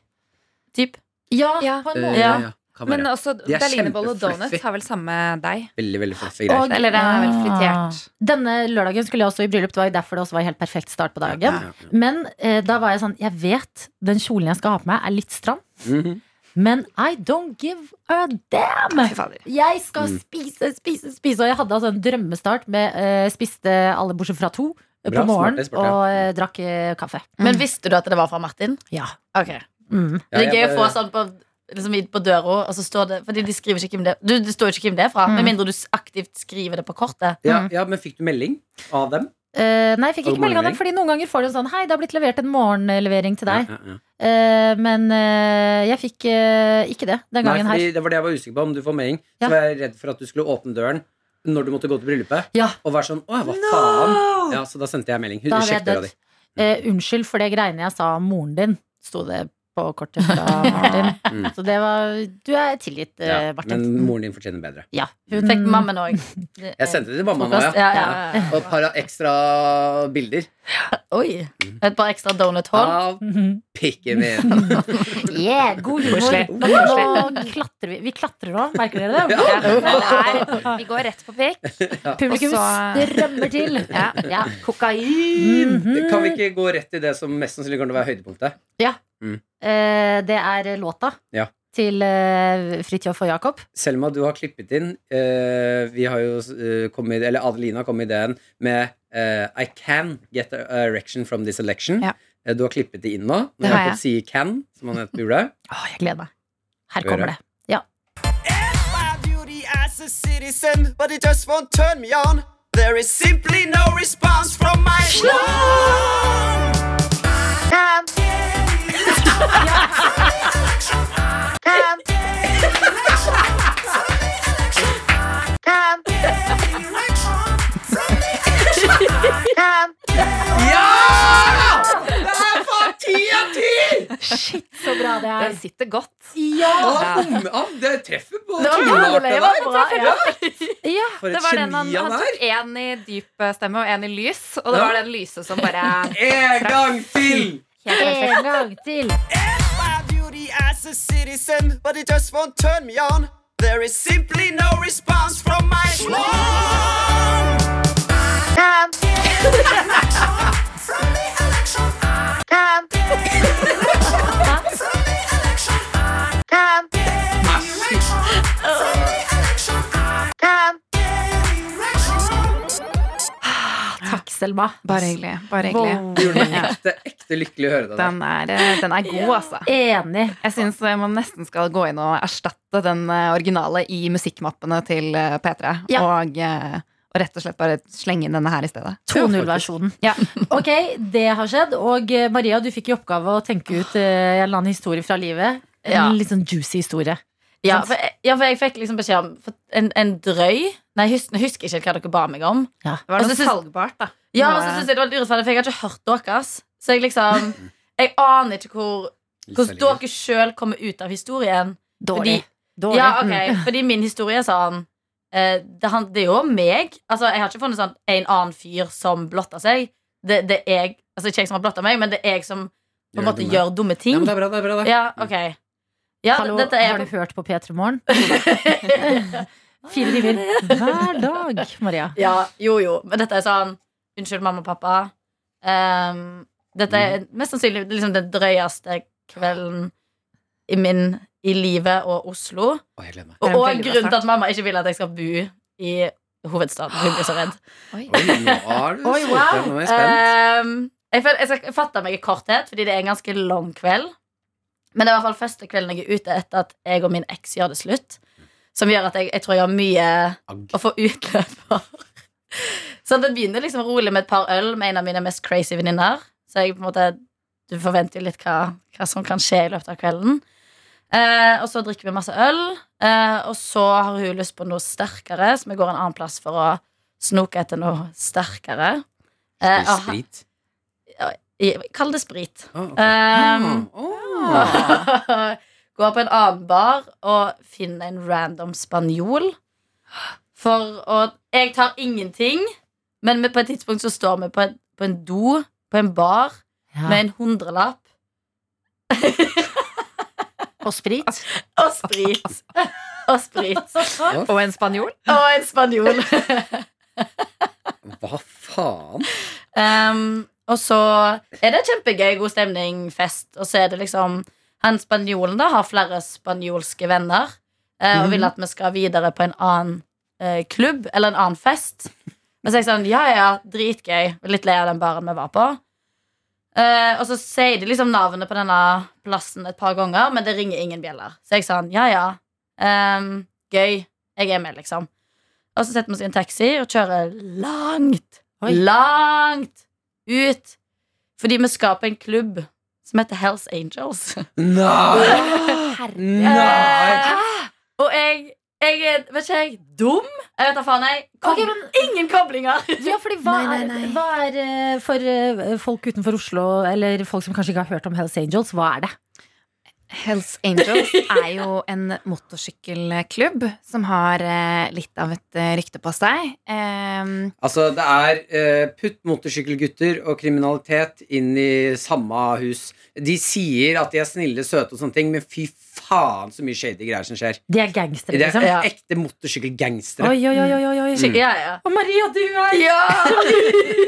Typ. ja, Ja. på en Eh, måte. ja, ja, kan Men være. også De er berlinerbolle og donut kjempefluffy. har vel samme deig. Veldig, veldig fluffy Og- greier. Eller den er vel Ah. fritert. Denne lørdagen skulle jeg også i bryllup. Det var jo derfor det også var helt perfekt start på dagen. Ja, ja, ja. Men eh, da var jeg sånn Jeg vet den kjolen jeg skal ha på meg, er litt stram, Mhm. men I don't give a damn! Fy fader. Jeg skal Mm. spise, spise, spise. Og jeg hadde altså en drømmestart med eh, spiste alle bortsett fra to eh, Bra, på morgenen smart, smart, ja. og eh, drakk eh, kaffe. Mm. Men visste du at det var fra Martin? Ja. Ok Mm. Ja, Det er jeg gøy å få bare- sånn på, liksom, i- på døra, og så står det Fordi de skriver ikke hvem det du, Det står ikke hvem det er fra, Mm. med mindre du s- aktivt skriver det på kortet. ja, ja, men fikk du melding av dem? Eh, nei, jeg fikk Og ikke melding av dem, morgenlevering? fordi noen ganger får du en sånn Hei, det har blitt levert en morgenlevering til deg. Ja, ja, ja. Eh, men eh, jeg fikk eh, ikke det Nei, den gangen her. fordi det var det jeg var usikker på, om du får melding. Ja. Så var jeg redd for at du skulle åpne døren når du måtte gå til bryllupet, Ja. og være sånn Å, hva faen? Ja, så da sendte jeg melding. Hun Da hadde jeg sjekket Mm. døra dødd. di. Eh, unnskyld for det greiene jeg sa om moren din, sto det på kortet fra Martin. Mm. Så det var Du er tilgitt, eh, Ja, Martin. men moren din fortjener bedre. ja, hun Fikk mammen òg. Jeg sendte det til mamma nå, ja. Ja, ja, Eh, ja. Og et par ekstra bilder Oi. Et par ekstra donut hole. av Mhm. pikken min. Yeah, god humor. Koselig. Nå, nå klatrer vi. Vi klatrer nå, merker dere det? Ja, men det er- vi går rett på pikk. Publikum Og så- strømmer til. Ja. Ja, kokain. Mhm. Kan vi ikke gå rett til det som mest sannsynlig kommer til å være høydepunktet? Eh, det er låta Ja. til eh, Fridtjof og Jakob. Selma, du har klippet inn eh, Vi har jo eh, kommet Eller Adelina kom med ideen med eh, I can get a erection from this election. Ja. Eh, du har klippet det inn nå. Det Når har Jakob sier can, som han heter burde. Åh, jeg gleder meg. Her Hører. kommer det. Ja. My beauty as a citizen, but it just won't turn me on. There is simply no response from my love. Shit, så bra det Den er. sitter godt. Ah, bom- ah, det treffer på Ja, tungeart, det det der! var bra, ja. Ja. For Det et var den han, geni han han er! tok én i dyp eh, stemme og én i lys, og det var den lyse som bare En gang til! En gang til. My beauty as a citizen, but it just won't turn me on. There is simply no response from my slum. Takk, Selma. Bare hyggelig. Bare hyggelig. Det gjorde meg ekte, ekte lykkelig å høre det. Den er, eh, den er god, altså. Enig. Jeg syns man nesten skal gå inn og erstatte den eh, originale i musikkmappene til eh, P3. Ja. Og, eh, og rett og slett bare slenge inn denne her i stedet. 2.0-versjonen. Ja. Ok, det har skjedd. Og eh, Maria, du fikk i oppgave å tenke ut eh, en eller annen historie fra livet. En Ja. litt sånn juicy historie. Ja, Sant? for jeg, ja, for jeg fikk liksom beskjed om for en, en drøy Nei, hus, jeg husker ikke hva dere ba meg om. Ja. Og så synes- salgbart, da. ja, og så synes jeg det var litt urettferdig, for jeg har ikke hørt deres. Så jeg liksom Jeg aner ikke hvor hvordan dere sjøl kommer ut av historien. Dårlig. Mm. Fordi- Ja, ok, Fordi min historie er sånn eh, det, han, det er jo meg. Altså, Jeg har ikke funnet sånn en annen fyr som blotter seg. Det, det er jeg, altså Ikke jeg som har blotta meg, men det er jeg som på en måte gjør dumme Ja, ting. men det er bra, det er bra. Det. Ja, ok ja, Hallo, dette er har du hørt på P3 Morgen? Fire timer hver dag, Maria. Ja, jo, jo. Men dette er sånn Unnskyld, mamma og pappa. Ehm, dette er mest sannsynlig liksom, den drøyeste kvelden i min i livet og Oslo. Å, jeg gleder meg. Og, Det er en og veldig bra grunnen til start. at mamma ikke vil at jeg skal bo i hovedstaden. Hun blir så redd. Oi, nå er du Oi, stolt. wow. Nå er jeg spent. Ehm, jeg, føl- jeg skal fatte meg i korthet, fordi det er en ganske lang kveld. Men det er i hvert fall første kvelden jeg er ute etter at jeg og min eks gjør det slutt. Som gjør at jeg, jeg tror jeg har mye Agg. å få utløp for. Så det begynner liksom rolig med et par øl med en av mine mest crazy venninner. Så jeg på en måte, du forventer jo litt hva, hva som kan skje i løpet av kvelden. Eh, og så drikker vi masse øl, eh, og så har hun lyst på noe sterkere, så vi går en annen plass for å snoke etter noe sterkere. Eh, Spis og han- Sprit. i- Kall det sprit. Å, ok. Hmm. Ehm, Å, å. Gå på en annen bar og finne en random spanjol. For å Jeg tar ingenting, men vi- på et tidspunkt så står vi på en, på en do på en bar med Ja. en hundrelapp Og sprit. og sprit. og sprit. Og en spanjol. Og en spanjol. Hva faen? Ehm, og så er det kjempegøy, god stemning, fest. Og så er det liksom Han spanjolen da har flere spanjolske venner eh, og vil at vi skal videre på en annen eh, klubb eller en annen fest. Og så er jeg sånn Ja, ja, dritgøy. Litt lei av den baren vi var på. Eh, og så sier de liksom navnet på denne plassen et par ganger, men det ringer ingen bjeller. Så jeg sånn Ja, ja. ehm, gøy. Jeg er med, liksom. Og så setter vi oss i en taxi og kjører langt, Oi. langt ut. Fordi vi skal på en klubb som heter Hells Angels. Nei! Nei! Eh, og jeg, jeg er, vet ikke jeg, dum? Jeg vet da faen, jeg. Kom, Ok, Ingen koblinger! Ja, fordi hva, Nei, nei, nei. Er, hva er eh, for eh, folk utenfor Oslo, eller folk som kanskje ikke har hørt om Hells Angels, hva er det? Hells Angels er jo en motorsykkelklubb som har eh, litt av et eh, rykte på seg. Ehm, Altså, det er eh, putt motorsykkelgutter og kriminalitet inn i samme hus. De sier at de er snille, søte og sånne ting, men fy faen så mye shady greier som skjer. De er Mm. gangstere, Det er liksom? ekte motorsykkelgangstere. Oi, oi, oi, oi, oi, oi. Ja, ja. Og Maria, du er ja.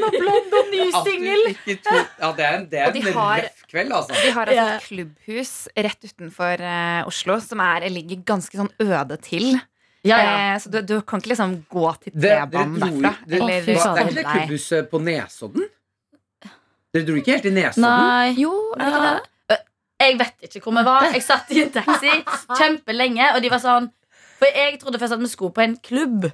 At du ikke tror- Ja, det er en, det er Og de en har- røff kveld, altså. De har altså Ja. et klubbhus rett utenfor eh, Oslo som er, ligger ganske sånn øde til. ja, ja. Eh, så du, du kan ikke liksom gå til Det- dere T-banen dro- derfra. dere- eller Å, fy Hva- faen. Det er komme ikke det deg. klubbhuset på Nesodden? Dere dro ikke helt i Nesodden? sånn. Nei. Jo, Nei, det kan være. Jeg vet ikke hvor vi var. Jeg satt i en taxi kjempelenge, og de var sånn For jeg trodde først at vi skulle på en klubb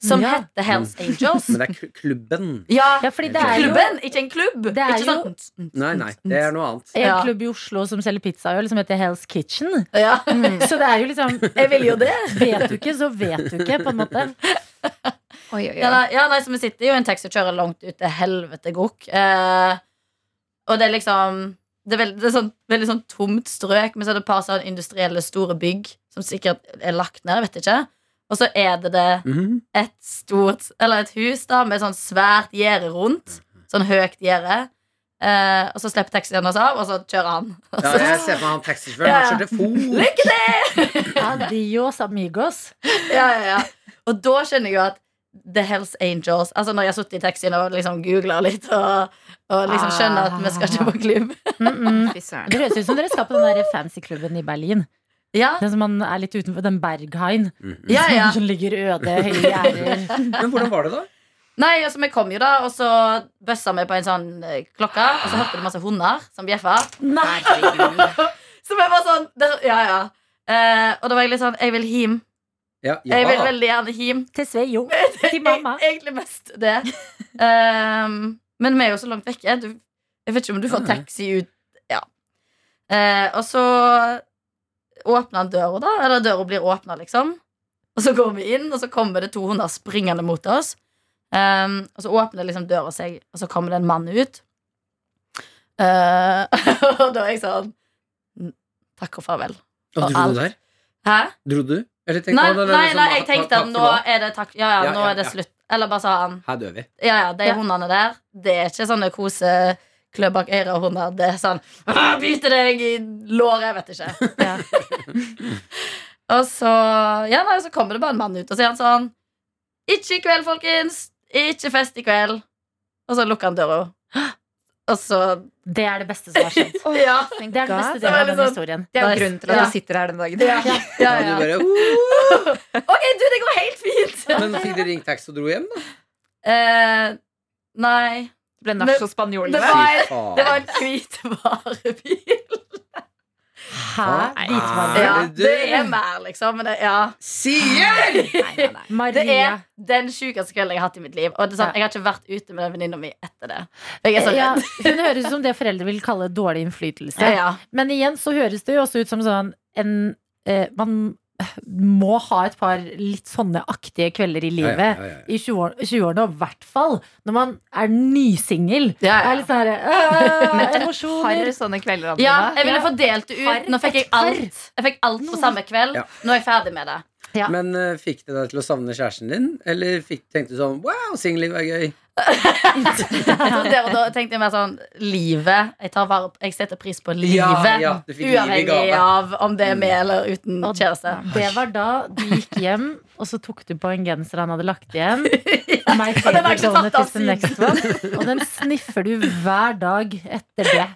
som Ja. heter Hells Angels. Men det er kl- klubben. Ja, Ja, fordi det er jo klubben, ikke en klubb. Det er ikke sånn Nei, nei, det er noe annet. en Ja. klubb i Oslo som selger pizzaøl som heter Hells Kitchen. ja. Så det er jo liksom Jeg ville jo det. Vet du ikke, så vet du ikke, på en måte. Oi, oi, Ja, oi. nei, ja, nei, så vi sitter jo i en taxi og kjører langt ut til helvete gokk. Eh, og det er liksom Det er, veld, det er sånn, veldig sånn tomt strøk, men så er det et par sånn industrielle store bygg som sikkert er lagt ned, jeg vet ikke. Og så er det det Mhm. et Mhm. stort Eller et hus da med sånn svært gjerde rundt. Sånn høyt gjerde. Eh, og så slipper taxien oss av, og så kjører han. Og Ja, så- jeg ser på han taxisjåføren. Han har telefon. Lykke til! Adios amigos. Ja, ja, ja. Og da skjønner jeg jo at The Hells Angels Altså Når jeg har sittet i taxien og liksom googla litt og, og liksom skjønner at vi skal ikke på klubb. Mm -mm. Fy søren. Det høres ut som dere skal på den der fancy klubben i Berlin. Ja, Den som man er litt utenfor, den Berghain. Mm-hmm. ja, ja. Som ligger øde, høye gjerder. Men hvordan var det, da? Nei, altså vi kom jo da, og så bøssa vi på en sånn eh, klokke, og så hørte du masse hunder som bjeffa. Så vi var sånn der, Ja, ja. Eh, og da var jeg litt sånn Jeg vil hjem. Ja, Jeg vil ja. veldig gjerne hjem. Til Sveio. Til Eg- mamma. E- Egentlig mest det. Ehm, men vi er jo så langt vekke. Du, jeg vet ikke om du får Ja, ja. taxi ut Ja. Eh, og så åpner han døra, da. Eller døra blir åpna, liksom. Og så går vi inn, og så kommer det to hunder springende mot oss. Ehm, og så åpner liksom døra seg, og så kommer det en mann ut. Eh, og da er jeg sånn "N- Takk og farvel. Og dro du der? Hæ? Dro du? Eller tenkte Nei, han, eller nei, liksom, nei, jeg ha- ha- tenkte at takk nå for nå. er det takk Ja, ja, Ja, nå ja, er det ja. slutt. Eller bare sa han Her dør vi. Ja, ja, de Ja. hundene der, det er ikke sånne kose klø bak øret-hunder. Det er sånn «Ah, Bite deg i låret, jeg vet ikke. Ja. Og så Ja, nei, så kommer det bare en mann ut, og så er han sånn Ikke i kveld, folkens. Ikke fest i kveld. Og så lukker han døra. Og så Det er det beste som har skjedd. Ja. Det er den beste Det delen var av denne litt historien. Det er jo Nice. grunnen til at Ja. du sitter her den dagen. Ja, ja, ja, Og du bare, Ok, du, det går helt fint. men fikk dere ringt taxi og dro hjem, da? Eh, nei. Det ble Det- nachos spanjol. Det Det var, Fy faen. det var en hvit varebil. Hæ? Hvitvann. Er Ja, det det det? er mer, liksom. Men det, ja. Sier! det Maria. er den sjukeste kvelden jeg har hatt i mitt liv. Og det er sånn, Ja. Jeg har ikke vært ute med den venninna mi etter det. Jeg er så Ja, redd. hun høres ut som det foreldre vil kalle dårlig innflytelse. Ja. Men igjen så høres det jo også ut som sånn en eh, Man må ha et par litt sånne aktige kvelder i livet. Ja, ja, ja, I 20-år- 20-årene, og i hvert fall når man er nysingel. Ja, Det ja. er litt sånn herre Men et Emosjoner. Har sånne kvelder, ja, Adelina. jeg ville fordelt det ut. Nå fikk jeg alt Jeg fikk alt på samme kveld. Ja. Nå er jeg ferdig med det. Ja. Men eh, fikk det deg til å savne kjæresten din? Eller fikk, tenkte du sånn Wow, singelliv er gøy. Jeg tror Der og da tenkte jeg mer sånn Livet. Jeg, tar vare på, jeg setter pris på livet. Ja, ja, du fikk liv i uavhengig gave. Mm. av om det er med eller uten Og kjæreste. Det var da du gikk hjem, og så tok du på en genser han hadde lagt igjen. My Og den har favorite ikke tatt donut av is the next one. Og den sniffer du hver dag etter det.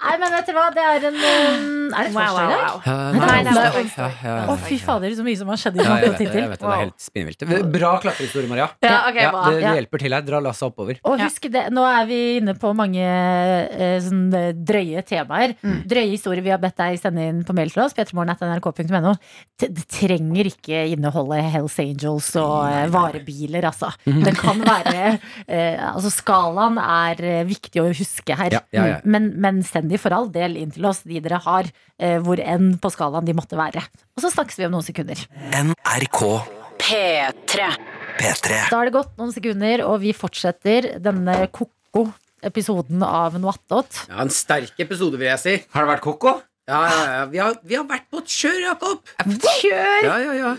Nei, men vet dere hva? Det er en um, Er det Wow, wow, torsdag i dag? wow. Nei, det er ja, Å, fy fader, så mye som har skjedd i natt og tittel. det. er helt spinnvilt. Bra klatrehistorie, Maria. Ja, ok, Ja, bra det, Ja. det hjelper til her. Dra lasset oppover. Og husk det, nå er vi inne på mange eh, sånne drøye temaer. Mm. Drøye historier vi har bedt deg sende inn på mail til oss. petermorgen.nrk.no. T- Det trenger ikke inneholde Hells Angels og eh, varebiler, altså. Mm-hmm. Det kan være eh, Altså, skalaen er eh, viktig å huske her. Mm. Ja, ja, ja. Men, men send de for all del inn til oss, de dere har, eh, hvor enn på skalaen de måtte være. Og så snakkes vi om noen sekunder. NRK P3. P3. Da har det gått noen sekunder, og vi fortsetter denne koko episoden av Noe attåt. Ja, En sterk episode, vil jeg si. Har det vært koko? Ja, ja, ja. Vi har, vi har vært på et kjør, Jakob. Kjør! Ja, ja, ja.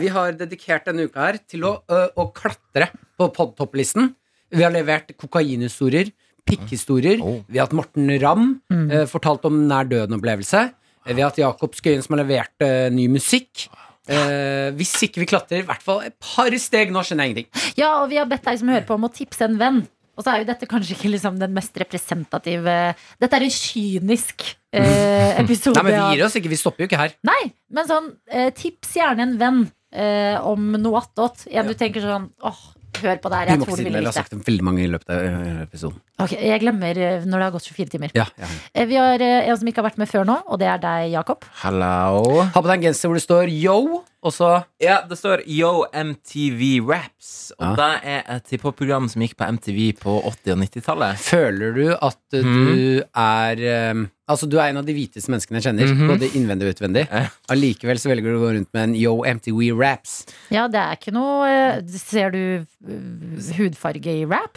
Vi har dedikert denne uka her til å, ø, å klatre på podtopplisten. Vi har levert kokainhistorier, pikkhistorier. Oh. Vi har hatt Morten Ramm ø, fortalt om nær døden-opplevelse. Vi har hatt Jakob Skøyen som har levert ø, ny musikk. Eh, hvis ikke vi klatrer i hvert fall et par steg nå, skjønner jeg ingenting. Ja, og vi har bedt deg som hører på om å tipse en venn. Og så er jo dette kanskje ikke liksom den mest representative Dette er en kynisk eh, episode. Mm. Nei, men Vi av- gir oss ikke, vi stopper jo ikke her. Nei, men sånn, eh, tips gjerne en venn eh, om noe attåt. En du tenker sånn åh, hør på det her, Vi jeg må tror ikke si du det, vil jeg like har det. sagt det veldig mange i løpet av ø, episoden. Ok, Jeg glemmer eh, når det har gått 24 timer. Ja, ja. Eh, vi har eh, en som ikke har vært med før nå, og det er deg, Jakob. Hello. Ha på deg en genser hvor det står yo, og så Ja, det står Yo MTV Raps. Og Ja. det er et hiphop-program som gikk på MTV på 80- og 90-tallet. føler du at uh, Mhm. du er um, Altså, du er en av de hviteste menneskene jeg kjenner, Mhm. både innvendig og utvendig. Eh. Allikevel så velger du å gå rundt med en Yo MTV Raps. Ja, det er ikke noe eh, Ser du eh, hudfarge i rap?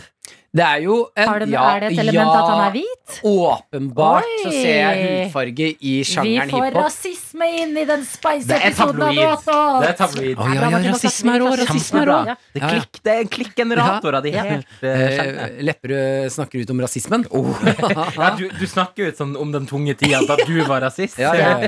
Det er jo en, Har det, ja, er det et element ja, at han er hvit? Åpenbart så Oi. ser jeg hudfarge i Vi sjangeren får hiphop. rasisme inn i den Det er spice-episoden av tabloid. Råtått! Det er tabloid. Å, ja, Nei, ja, det var rasisme er rå, tabloid. rasisme er rå. Ja. Det Ja, er, ja. klikk, det er klikkgeneratorer. De Ja. er helt eh, oh. skjønne. Eh, Lepperød snakker ut om rasismen. ja, du, du snakker ut sånn om den tunge tida da du var rasist. Ja, ja, ja.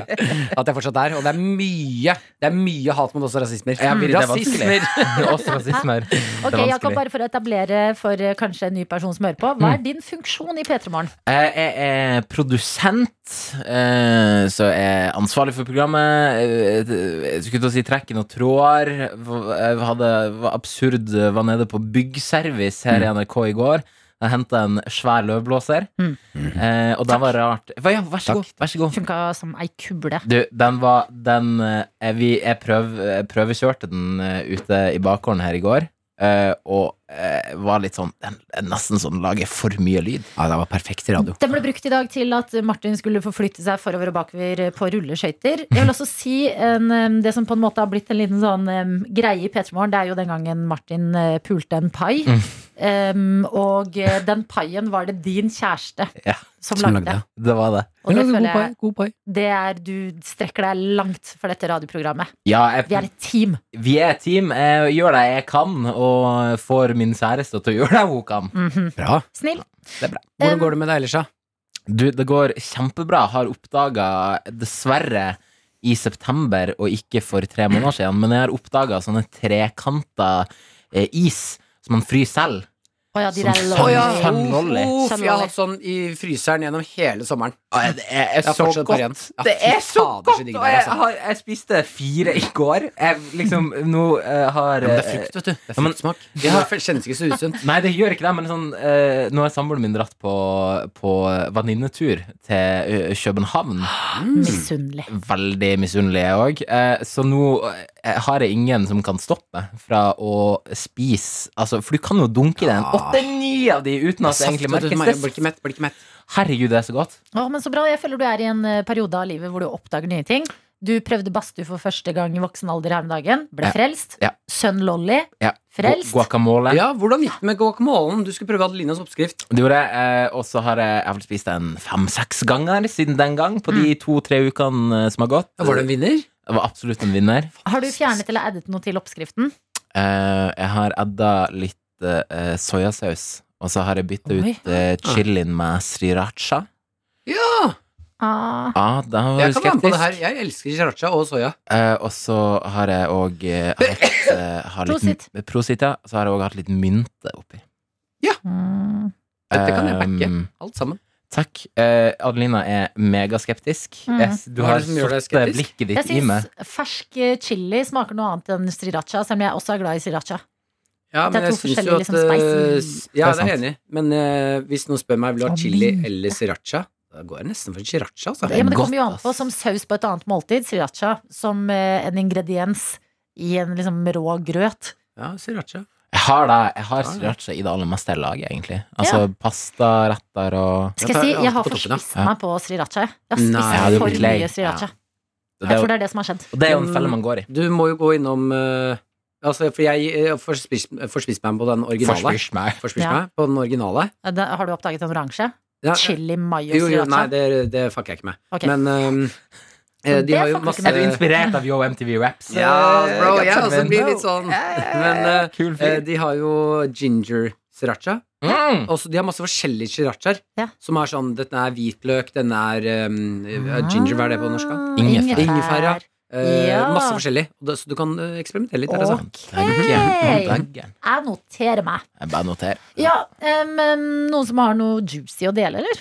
At jeg fortsatt er. Og det er mye Det er mye hat mot oss og rasismer. Jeg blir- det er vanskelig. rasismer! Også rasismer. Det er Ok, Jakob, vanskelig. bare for å etablere for eh, kanskje en ny person som hører på. Hva Mm. er din funksjon i P3 Morgen? Jeg er produsent, eh, så jeg er ansvarlig for programmet. Eh, Jeg skulle til å si trekken og tråder. Jeg hadde, var absurd, var nede på byggservice her i NRK i går. Jeg henta en svær løvblåser. Mm. Eh, og den var rart Hva- Ja, vær så god. Vær så god. Funka som ei kuble. Du, den var den, eh, vi, Jeg prøv, jeg prøvekjørte den eh, ute i bakgården her i går. eh, og eh, var litt sånn den, den Nesten sånn lager for mye lyd. Ja, det var perfekt radio. Den ble brukt i dag til at Martin skulle forflytte seg forover og bakover på rulleskøyter. Jeg vil også si en, em, det som på en måte har blitt en liten sånn em, greie i P3 Morgen, det er jo den gangen Martin eh, pulte en pai. Mm. Em, og eh, den paien var det din kjæreste Ja, som, som lagde. lagde. Det var det. Og det, god føler pai. jeg, God pai. det er du strekker deg langt for dette radioprogrammet. Ja, jeg, Vi er et team. Vi er et team. Jeg gjør det jeg kan, og får min kjæreste til å gjøre det hun kan. Mhm. Bra. Snill. Hvordan går det med deg ellers, da? Du, det går kjempebra. Har oppdaga, dessverre, i september og ikke for tre måneder siden, men jeg har oppdaga sånne trekanta eh, is som man fryser selv. Å ja, de der Som faen. lolly. Å ja. Sannolly. Uff, jeg har Sannolly. hatt sånn i fryseren gjennom hele sommeren. Ah, Det er, er Jeg har så fortsatt bare godt. igjen. Ja, Det fy er så fader, så godt! digg det Og er, jeg, altså. har, jeg spiste fire i går. Jeg liksom nå eh, har Ja, men det er eh, frukt, vet du. Det er Ja, men- fruktsmak. Det Ja. kjennes ikke så usunt. Nei, det gjør ikke det, men sånn, eh, nå har samboeren min dratt på, på venninnetur til eh, København. Mm. Misunnelig. Veldig misunnelig, jeg òg. Eh, så nå eh, har jeg ingen som kan stoppe meg fra å spise altså, For du kan jo dunke i deg en åtte-ni av de uten at det egentlig Saft, vet du, merkes. Maja, Blir ikke mett, blir ikke mett. Herregud, det er så godt. Å, men så bra. Jeg føler du er i en eh, periode av livet hvor du oppdager nye ting. Du prøvde badstue for første gang i voksen alder her om dagen. Ble Ja. frelst. Ja. Sønn Lolly. Ja. Frelst. Gu- Guacamole. Ja, hvordan gikk det med guacamolen? Du skulle prøve Adelinas oppskrift. Det gjorde jeg, eh, og så har jeg, jeg har vel spist den fem-seks ganger siden den gang. På de to-tre ukene eh, som har gått. Mm. Var du en vinner? Jeg var absolutt en vinner. Har du fjernet eller addet noe til oppskriften? Eh, jeg har edda litt eh, soyasaus, og så har jeg bytta Oi. ut eh, chilien med sriracha. Ja! Ah. Ja, da var Jeg du kan være med på det skeptisk. her. Jeg elsker sriracha og soya. Eh, og så har jeg òg hatt eh, har litt, Prosit. Prosit, ja. Så har jeg òg hatt litt mynte oppi. Mm. Dette kan jeg backe. Um, Alt sammen. takk. Eh, Adelina er megaskeptisk. Mm. Jeg s- Du Hva er har det som gjør deg satt eh, skeptisk? blikket Jeg ditt i meg. syns fersk eh, chili smaker noe annet enn sriracha, selv om jeg også er glad i sriracha. Ja, Det er men jeg to syns jo forskjellige at liksom eh, spicy- s- Ja, Det det er er jeg enig. i. Men eh, hvis noen spør meg vil du ha Og chili mynte. eller sriracha, da går jeg nesten for sriracha. Altså. Ja, men det godt, kommer jo an på ass. som saus på et annet måltid, sriracha, som eh, en ingrediens i en liksom rå grøt. Ja, sriracha. Jeg har, det, jeg har Ja, ja. sriracha i det aller meste jeg lager, egentlig. Altså pastaretter og Skal tar jeg si, jeg alt har på toppen, ja. forspist Ja. meg på sriracha. jeg. Jeg Nei, har spist du er blitt for lei. mye sriracha. Det Jeg er jo- tror det er det som har skjedd. Og det er jo en felle man går i. Du må jo gå innom eh, Altså, for jeg eh, forspis- forspiste meg på den originale. Forspiss meg. Forspiste Ja. meg på den originale. Ja, da- Har du oppdaget den oransje? Ja, Chili mayo Jo, jo, nei, sriracha? det, det fucker jeg ikke med. Ok. Men ehm, eh, de Det har jo fucker masse du Er du inspirert av Yo MTV Raps? Ja, bro, jeg også blir litt sånn. Men eh, Kul eh, fyr. de har jo ginger sriracha. Mm. Også, de har masse forskjellige srirachaer. Ja. Som er sånn Denne er hvitløk, denne er ehm, eh, ginger, hva er det på norsk? da? Ah, Ingefær. Ingefær, ja. Eh, Ja. Masse forskjellig. Og det- Så du kan eh, eksperimentere litt. Der, altså. Ok, jeg Daggen. Daggen. noterer meg. Jeg bare noterer. Ja, eh, men noen som har noe juicy å dele, eller?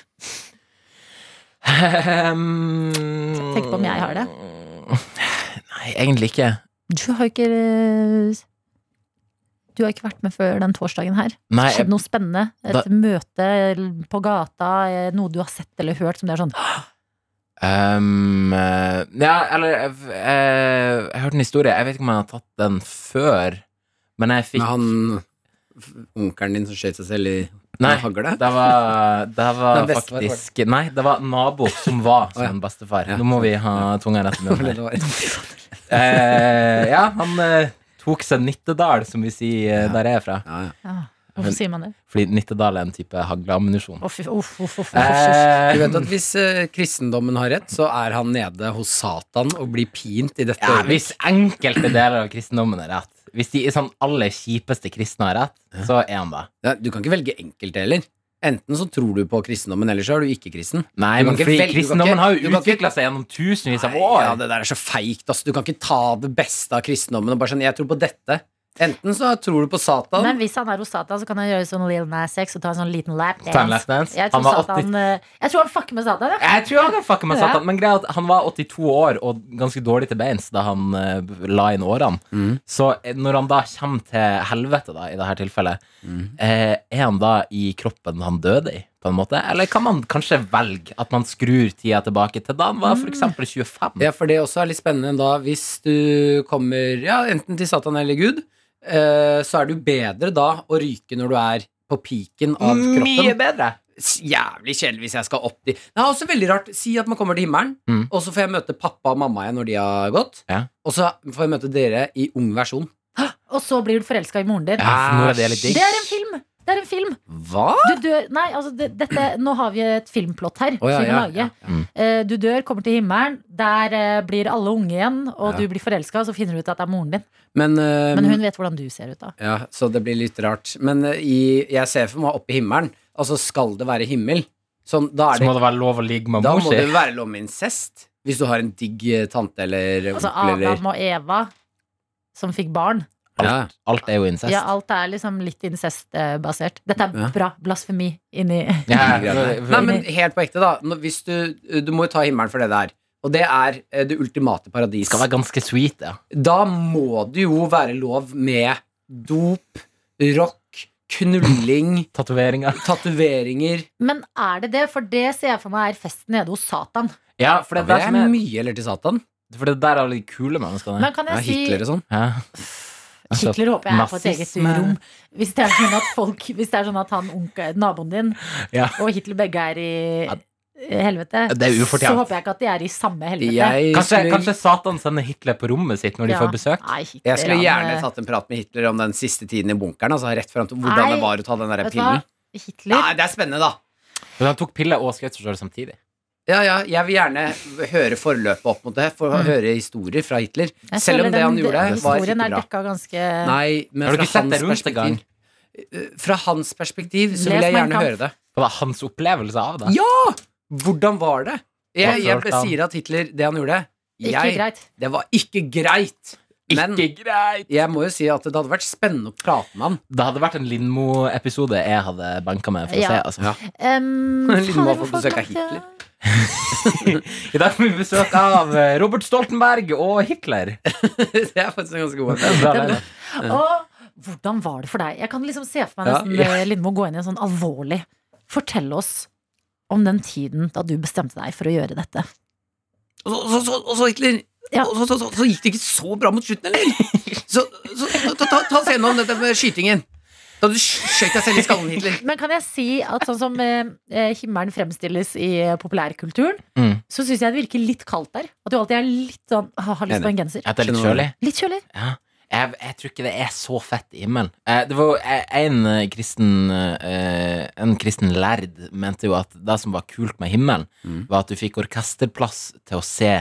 Tenk på om jeg har det. Nei, egentlig ikke. Du har jo ikke eh, Du har ikke vært med før den torsdagen her. Nei, Skjedde jeg, noe spennende? Et Da- møte på gata? eh, Noe du har sett eller hørt som det er sånn ehm, eh, Ja, eller jeg, jeg, jeg hørte en historie. Jeg vet ikke om jeg har tatt den før, men jeg Med fikk han f- onkelen din som skjøt seg selv i Nei, med hagle. det var, det var Den bestefar, faktisk Nei, det var en nabo som var som Å, ja. en bestefar. Ja, sånn. Nå må vi ha tunga rett i Det var munnen. det det var. her. Eh, ja, han eh, tok seg Nittedal, som vi sier eh, der jeg er fra. Ja, ja. ja. Hvorfor sier man det? Fordi Nittedal er en type hagleammunisjon. Å, fy- uff, uff, uff, uff. Eh, Du vet at Hvis eh, kristendommen har rett, så er han nede hos Satan og blir pint i dette ja, øyeblikk. hvis enkelte deler av kristendommen er rett, hvis de sånn aller kjipeste kristne har rett, så er han det. Ja, Du kan ikke velge enkelte heller. Enten så tror du på kristendommen, eller så er du ikke kristen. Nei, Du kan men ikke vel- fordi du kan kristendommen ikke- har du jo kan ikke- utvikla seg gjennom tusenvis av Nei, år. Ja, det der er så feigt. ass. Du kan ikke ta det beste av kristendommen og bare sånn Jeg tror på dette. Enten så tror du på Satan. Men hvis han er hos Satan, så kan han gjøre sånn Lil Nas X og ta en sånn liten lap Ta en lap dance. dance. Jeg Han tror, var Satan, eh, jeg tror han fucker med Satan. Ja. Jeg tror han kan fucke med Ja. Satan, men greia er at han var 82 år og ganske dårlig til beins da han eh, la inn årene. Mm. Så eh, når han da kommer til helvete, da, i dette tilfellet, Mm. eh, er han da i kroppen han døde i, på en måte? Eller kan man kanskje velge at man skrur tida tilbake til da han var f.eks. 25? Ja, for det også er litt spennende da Hvis du kommer ja, enten til Satan eller Gud eh, Så er du bedre da å ryke når du er på piken av Mye kroppen bedre! S- Jævlig kjedelig hvis jeg skal opp dit Det er også veldig rart, si at man kommer til himmelen Mm. Og så får jeg møte pappa og mamma igjen når de har gått Ja. Og så får jeg møte dere i ung versjon Og så blir du forelska i moren din. Ja, for nå er det litt digg. Det er en film! Det er en film. Hva? Du dør Nei, altså, det, dette Nå har vi et filmplott her. Å, ja, som vi må ja, lage. ja. Eh, Du dør, kommer til himmelen. Der eh, blir alle unge igjen, og Ja. du blir forelska, og så finner du ut at det er moren din. Men, eh, Men hun vet hvordan du ser ut, da. Ja, så det blir litt rart Men eh, i, jeg ser for meg oppe i himmelen Altså skal det være himmel Sånn, da er Så det må det være lov å ligge med Da mor må si. det jo være lov med incest. Hvis du har en digg eh, tante eller Altså onkel eller Adam og Eva, som fikk barn. ja. Alt er jo incest. Ja, alt er liksom litt incestbasert. Dette er Ja. bra blasfemi inni Ja, ja, Nei, ja. men helt på ekte, da. Når- Hvis du, du må jo ta himmelen for det det er. Og det er eh, det ultimate paradis. Det skal være ganske sweet, ja. Da må det jo være lov med dop, rock, knulling, Tatoveringer. tatoveringer Men er det det? For det ser jeg for meg er festen nede hos Satan. Ja, for Det det er der er som er mye eller til Satan. For det der er alle de kule menneskene. Men kan Ja, jeg si Hitler og sånn. Ja. Altså, Hitler håper jeg er på et eget nazisme. rom. Hvis det er sånn at, folk, hvis det er sånn at han onke, naboen din Ja. og Hitler begge er i i helvete, Ja, det er ufortjent. så håper jeg ikke at de er i samme helvete. Jeg Kanskje, skulle- kanskje Satan sender Hitler på rommet sitt når de Ja. får besøk? Nei, Hitler, jeg skulle han, eh, gjerne tatt en prat med Hitler om den siste tiden i bunkeren. Altså rett frem til Hvordan Nei, det var å ta den der vet du hva? pillen. Hitler Nei, det er spennende, da. Men han tok piller og skjøt seg selv samtidig. Ja, ja, jeg vil gjerne høre forløpet opp mot det, for å høre historier fra Hitler. Mm. Jeg Selv om føler det han den gjorde, var ikke Historien er bra. dekka ganske Nei, men Har du fra ikke sett hans det rundt en gang? perspektiv Eh, Fra hans perspektiv så vil Les jeg Mein gjerne Kampf. høre det. Det var hans opplevelse av det. Ja! Hvordan var det? Jeg, Hva jeg følte han? sier at Hitler, det han gjorde Ikke jeg, greit. Det var ikke greit. Men Ikke greit! jeg må jo si at det hadde vært spennende å prate med han. Det hadde vært en Lindmo-episode jeg hadde banka med. for å Ja. se altså. Um, Liten fader, må få hvorfor besøk av glemte jeg- Hitler. I dag får vi besøk av eh, Robert Stoltenberg og Hitler. det er faktisk en ganske god Det er en. bra leilighet. Og hvordan var det for deg? Jeg kan liksom se for meg Ja, nesten ja. eh, Lindmo gå inn i en sånn alvorlig Fortell oss om den tiden da du bestemte deg for å gjøre dette. Og så, så, så, og så Hitler Ja. og så, så, så, så gikk det ikke så bra mot slutten, eller? Så, så ta, ta, ta scenen om dette med skytingen. Da du skjøt deg selv i skallen, Hitler. Men kan jeg si at sånn som eh, eh, himmelen fremstilles i eh, populærkulturen, Mm. så syns jeg det virker litt kaldt der. At du alltid er litt sånn ah, Har lyst på en genser. Jeg tar litt kjølig. Litt kjølig. Ja. Jeg, jeg tror ikke det er så fett i himmelen. Eh, det var jo eh, en eh, kristen eh, En kristen lærd mente jo at det som var kult med himmelen, Mm. var at du fikk orkesterplass til å se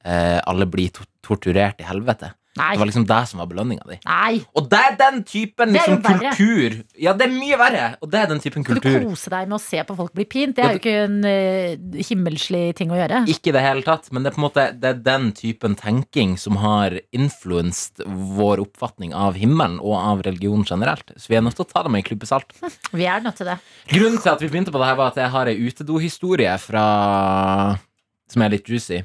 eh, alle bli to torturert i helvete. Nei. Det var liksom det som var belønninga di. Nei. Og det er den typen Det er jo liksom, verre. kultur Ja, det er mye verre! Og det er den typen Skal du kultur. kose deg med å se på folk bli pint? Det er jo ikke en eh, himmelslig ting å gjøre. Ikke i det hele tatt, men det er på en måte Det er den typen tenking som har influenset vår oppfatning av himmelen og av religion generelt. Så vi er nødt til å ta det med en klype salt. Vi er nødt til det. Grunnen til at vi begynte på det her, var at jeg har ei utedohistorie fra Som er litt juicy.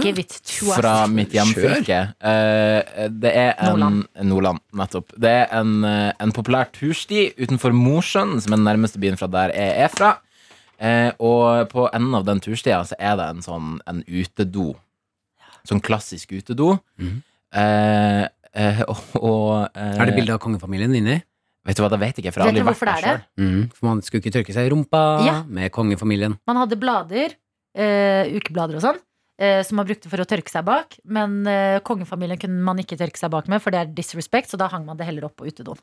Give it to us. Fra mitt hjemfylke. Eh, det er en Nordland. Nordland, nettopp. Det er en, eh, en populær tursti utenfor Mosjøen, som er den nærmeste byen fra der jeg er fra. Eh, og på enden av den turstia så er det en sånn en utedo. Sånn klassisk utedo. Mhm. Eh, eh, og, og eh, Er det bilde av kongefamilien inni? Vet du hva, det vet jeg ikke, for jeg har Vet aldri du vært hvorfor der det er sjøl. det? Mm, for man skulle ikke tørke seg i rumpa Ja. med kongefamilien. Man hadde blader, eh, ukeblader og sånn, eh, som man brukte for å tørke seg bak. Men eh, kongefamilien kunne man ikke tørke seg bak med, for det er disrespect, så da hang man det heller opp på utedoen.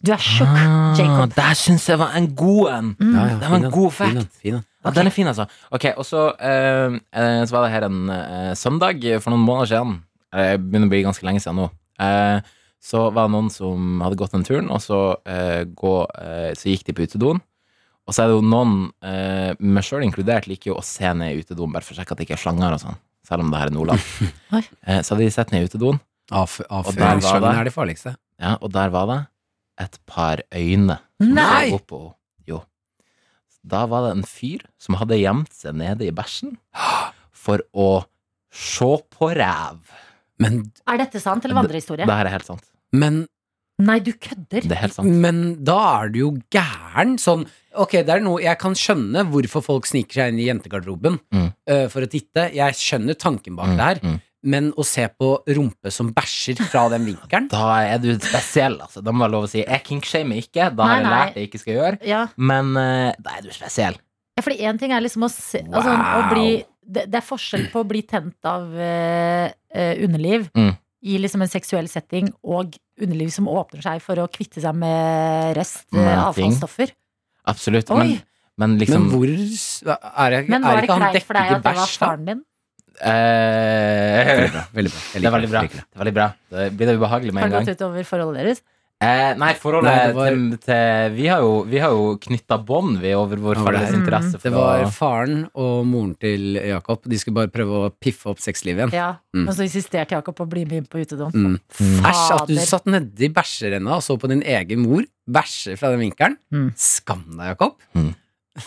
Du er tjukk, Jacob. Ah, Der syns jeg var en god en. Mm. Ja, det var en god fact. Fin, den. Ja, Den er fin, altså. Ok, og så, eh, eh, så var det her en eh, søndag for noen måneder siden. Eh, Det begynner å bli ganske lenge siden nå. Eh, så var det noen som hadde gått den turen, og så, eh, gå, eh, så gikk de på utedoen. Og så er det jo noen, eh, meg sjøl inkludert, liker jo å se ned i utedoen bare for å sjekke at det ikke er slanger og sånn. Selv om det her er Nordland. Oi. eh, så hadde de sett ned i utedoen, Avf der var det. Avføringssjangeren er de farligste. ja, og der var det et par øyne. Nei! Så opp og- Jo. Da var det en fyr som hadde gjemt seg nede i bæsjen for å se på ræv. Men, Er dette sant, eller vandrehistorie? Det her er helt sant. men, Nei, du kødder. Det er helt Mm. sant. men da er du jo gæren. Sånn, ok, det er noe Jeg kan skjønne hvorfor folk sniker seg inn i jentegarderoben Mm. øh, for å titte. Jeg skjønner tanken bak det her. Mm, mm. Men å se på rumpe som bæsjer fra den vinkelen Da er du spesiell, altså. Da må jeg lov å si. Jeg kinkshamer ikke. Da har Nei, jeg nei. lært det jeg ikke skal gjøre. Ja. Men eh, da er du spesiell. Ja, fordi én ting er liksom å se altså, å Wow. bli, det, det er forskjell på å bli tent av eh, eh, underliv Mm. i liksom en seksuell setting og underliv som åpner seg for å kvitte seg med rest, eh, Med ting. avfallsstoffer. Absolutt. Oi! Men, men liksom Men hvor s- er, jeg, Men er var det ikke han kleint for dekket deg i at det var bæsj? da? faren din? eh, Veldig bra. Veldig bra. Jeg Det liker er veldig bra. jeg liker Det er veldig bra. Det blir det ubehagelig med Har en det gått gang. utover forholdet deres? Eh, nei, forholdet Nei, det var- til, til Vi har jo, vi har jo knytta bånd vi over vår Over felles det her. Mm. interesse. For Det var faren og moren til Jakob. De skulle bare prøve å piffe opp sexlivet igjen. Ja. Mm. Men så insisterte Jakob på å bli med inn på utedoen. Mm. Mm. Æsj, at du Fader. satt nedi bæsjerenna og så på din egen mor bæsje fra den vinkelen. Mm. Skam deg, Jakob. å,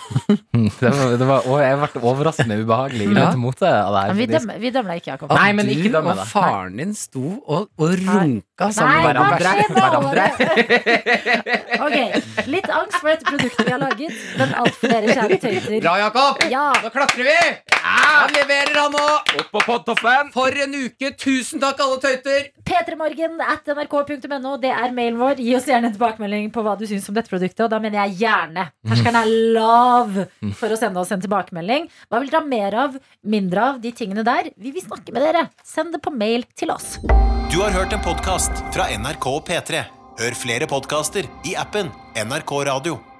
det var, det var, å, jeg ble overraskende ubehagelig i Ja. mot mote av det her. Men vi, faktisk. dømmer, vi dømmer deg ikke, Jakob. At Nei, men ikke du dømme og det. faren din sto og, og runka sammen Nei, med hva hverandre. skjer? hverandre. skjedde alle hverandre. Ok, Litt angst for dette produktet vi har laget, men alt for dere kjære tøyter. Bra, Jakob! Ja, Nå klatrer vi! Han leverer, han òg! Opp på podtoffen! For en uke! Tusen takk, alle tøyter! P3morgen at nrk.no, det er mailen vår. Gi oss gjerne en tilbakemelding på hva du syns om dette produktet, og da mener jeg gjerne. Terskelen er lav for å sende oss en tilbakemelding. Hva vil dere ha mer av, mindre av, de tingene der? Vi vil snakke med dere. Send det på mail til oss. Du har hørt en podkast fra NRK P3. Hør flere podkaster i appen NRK Radio.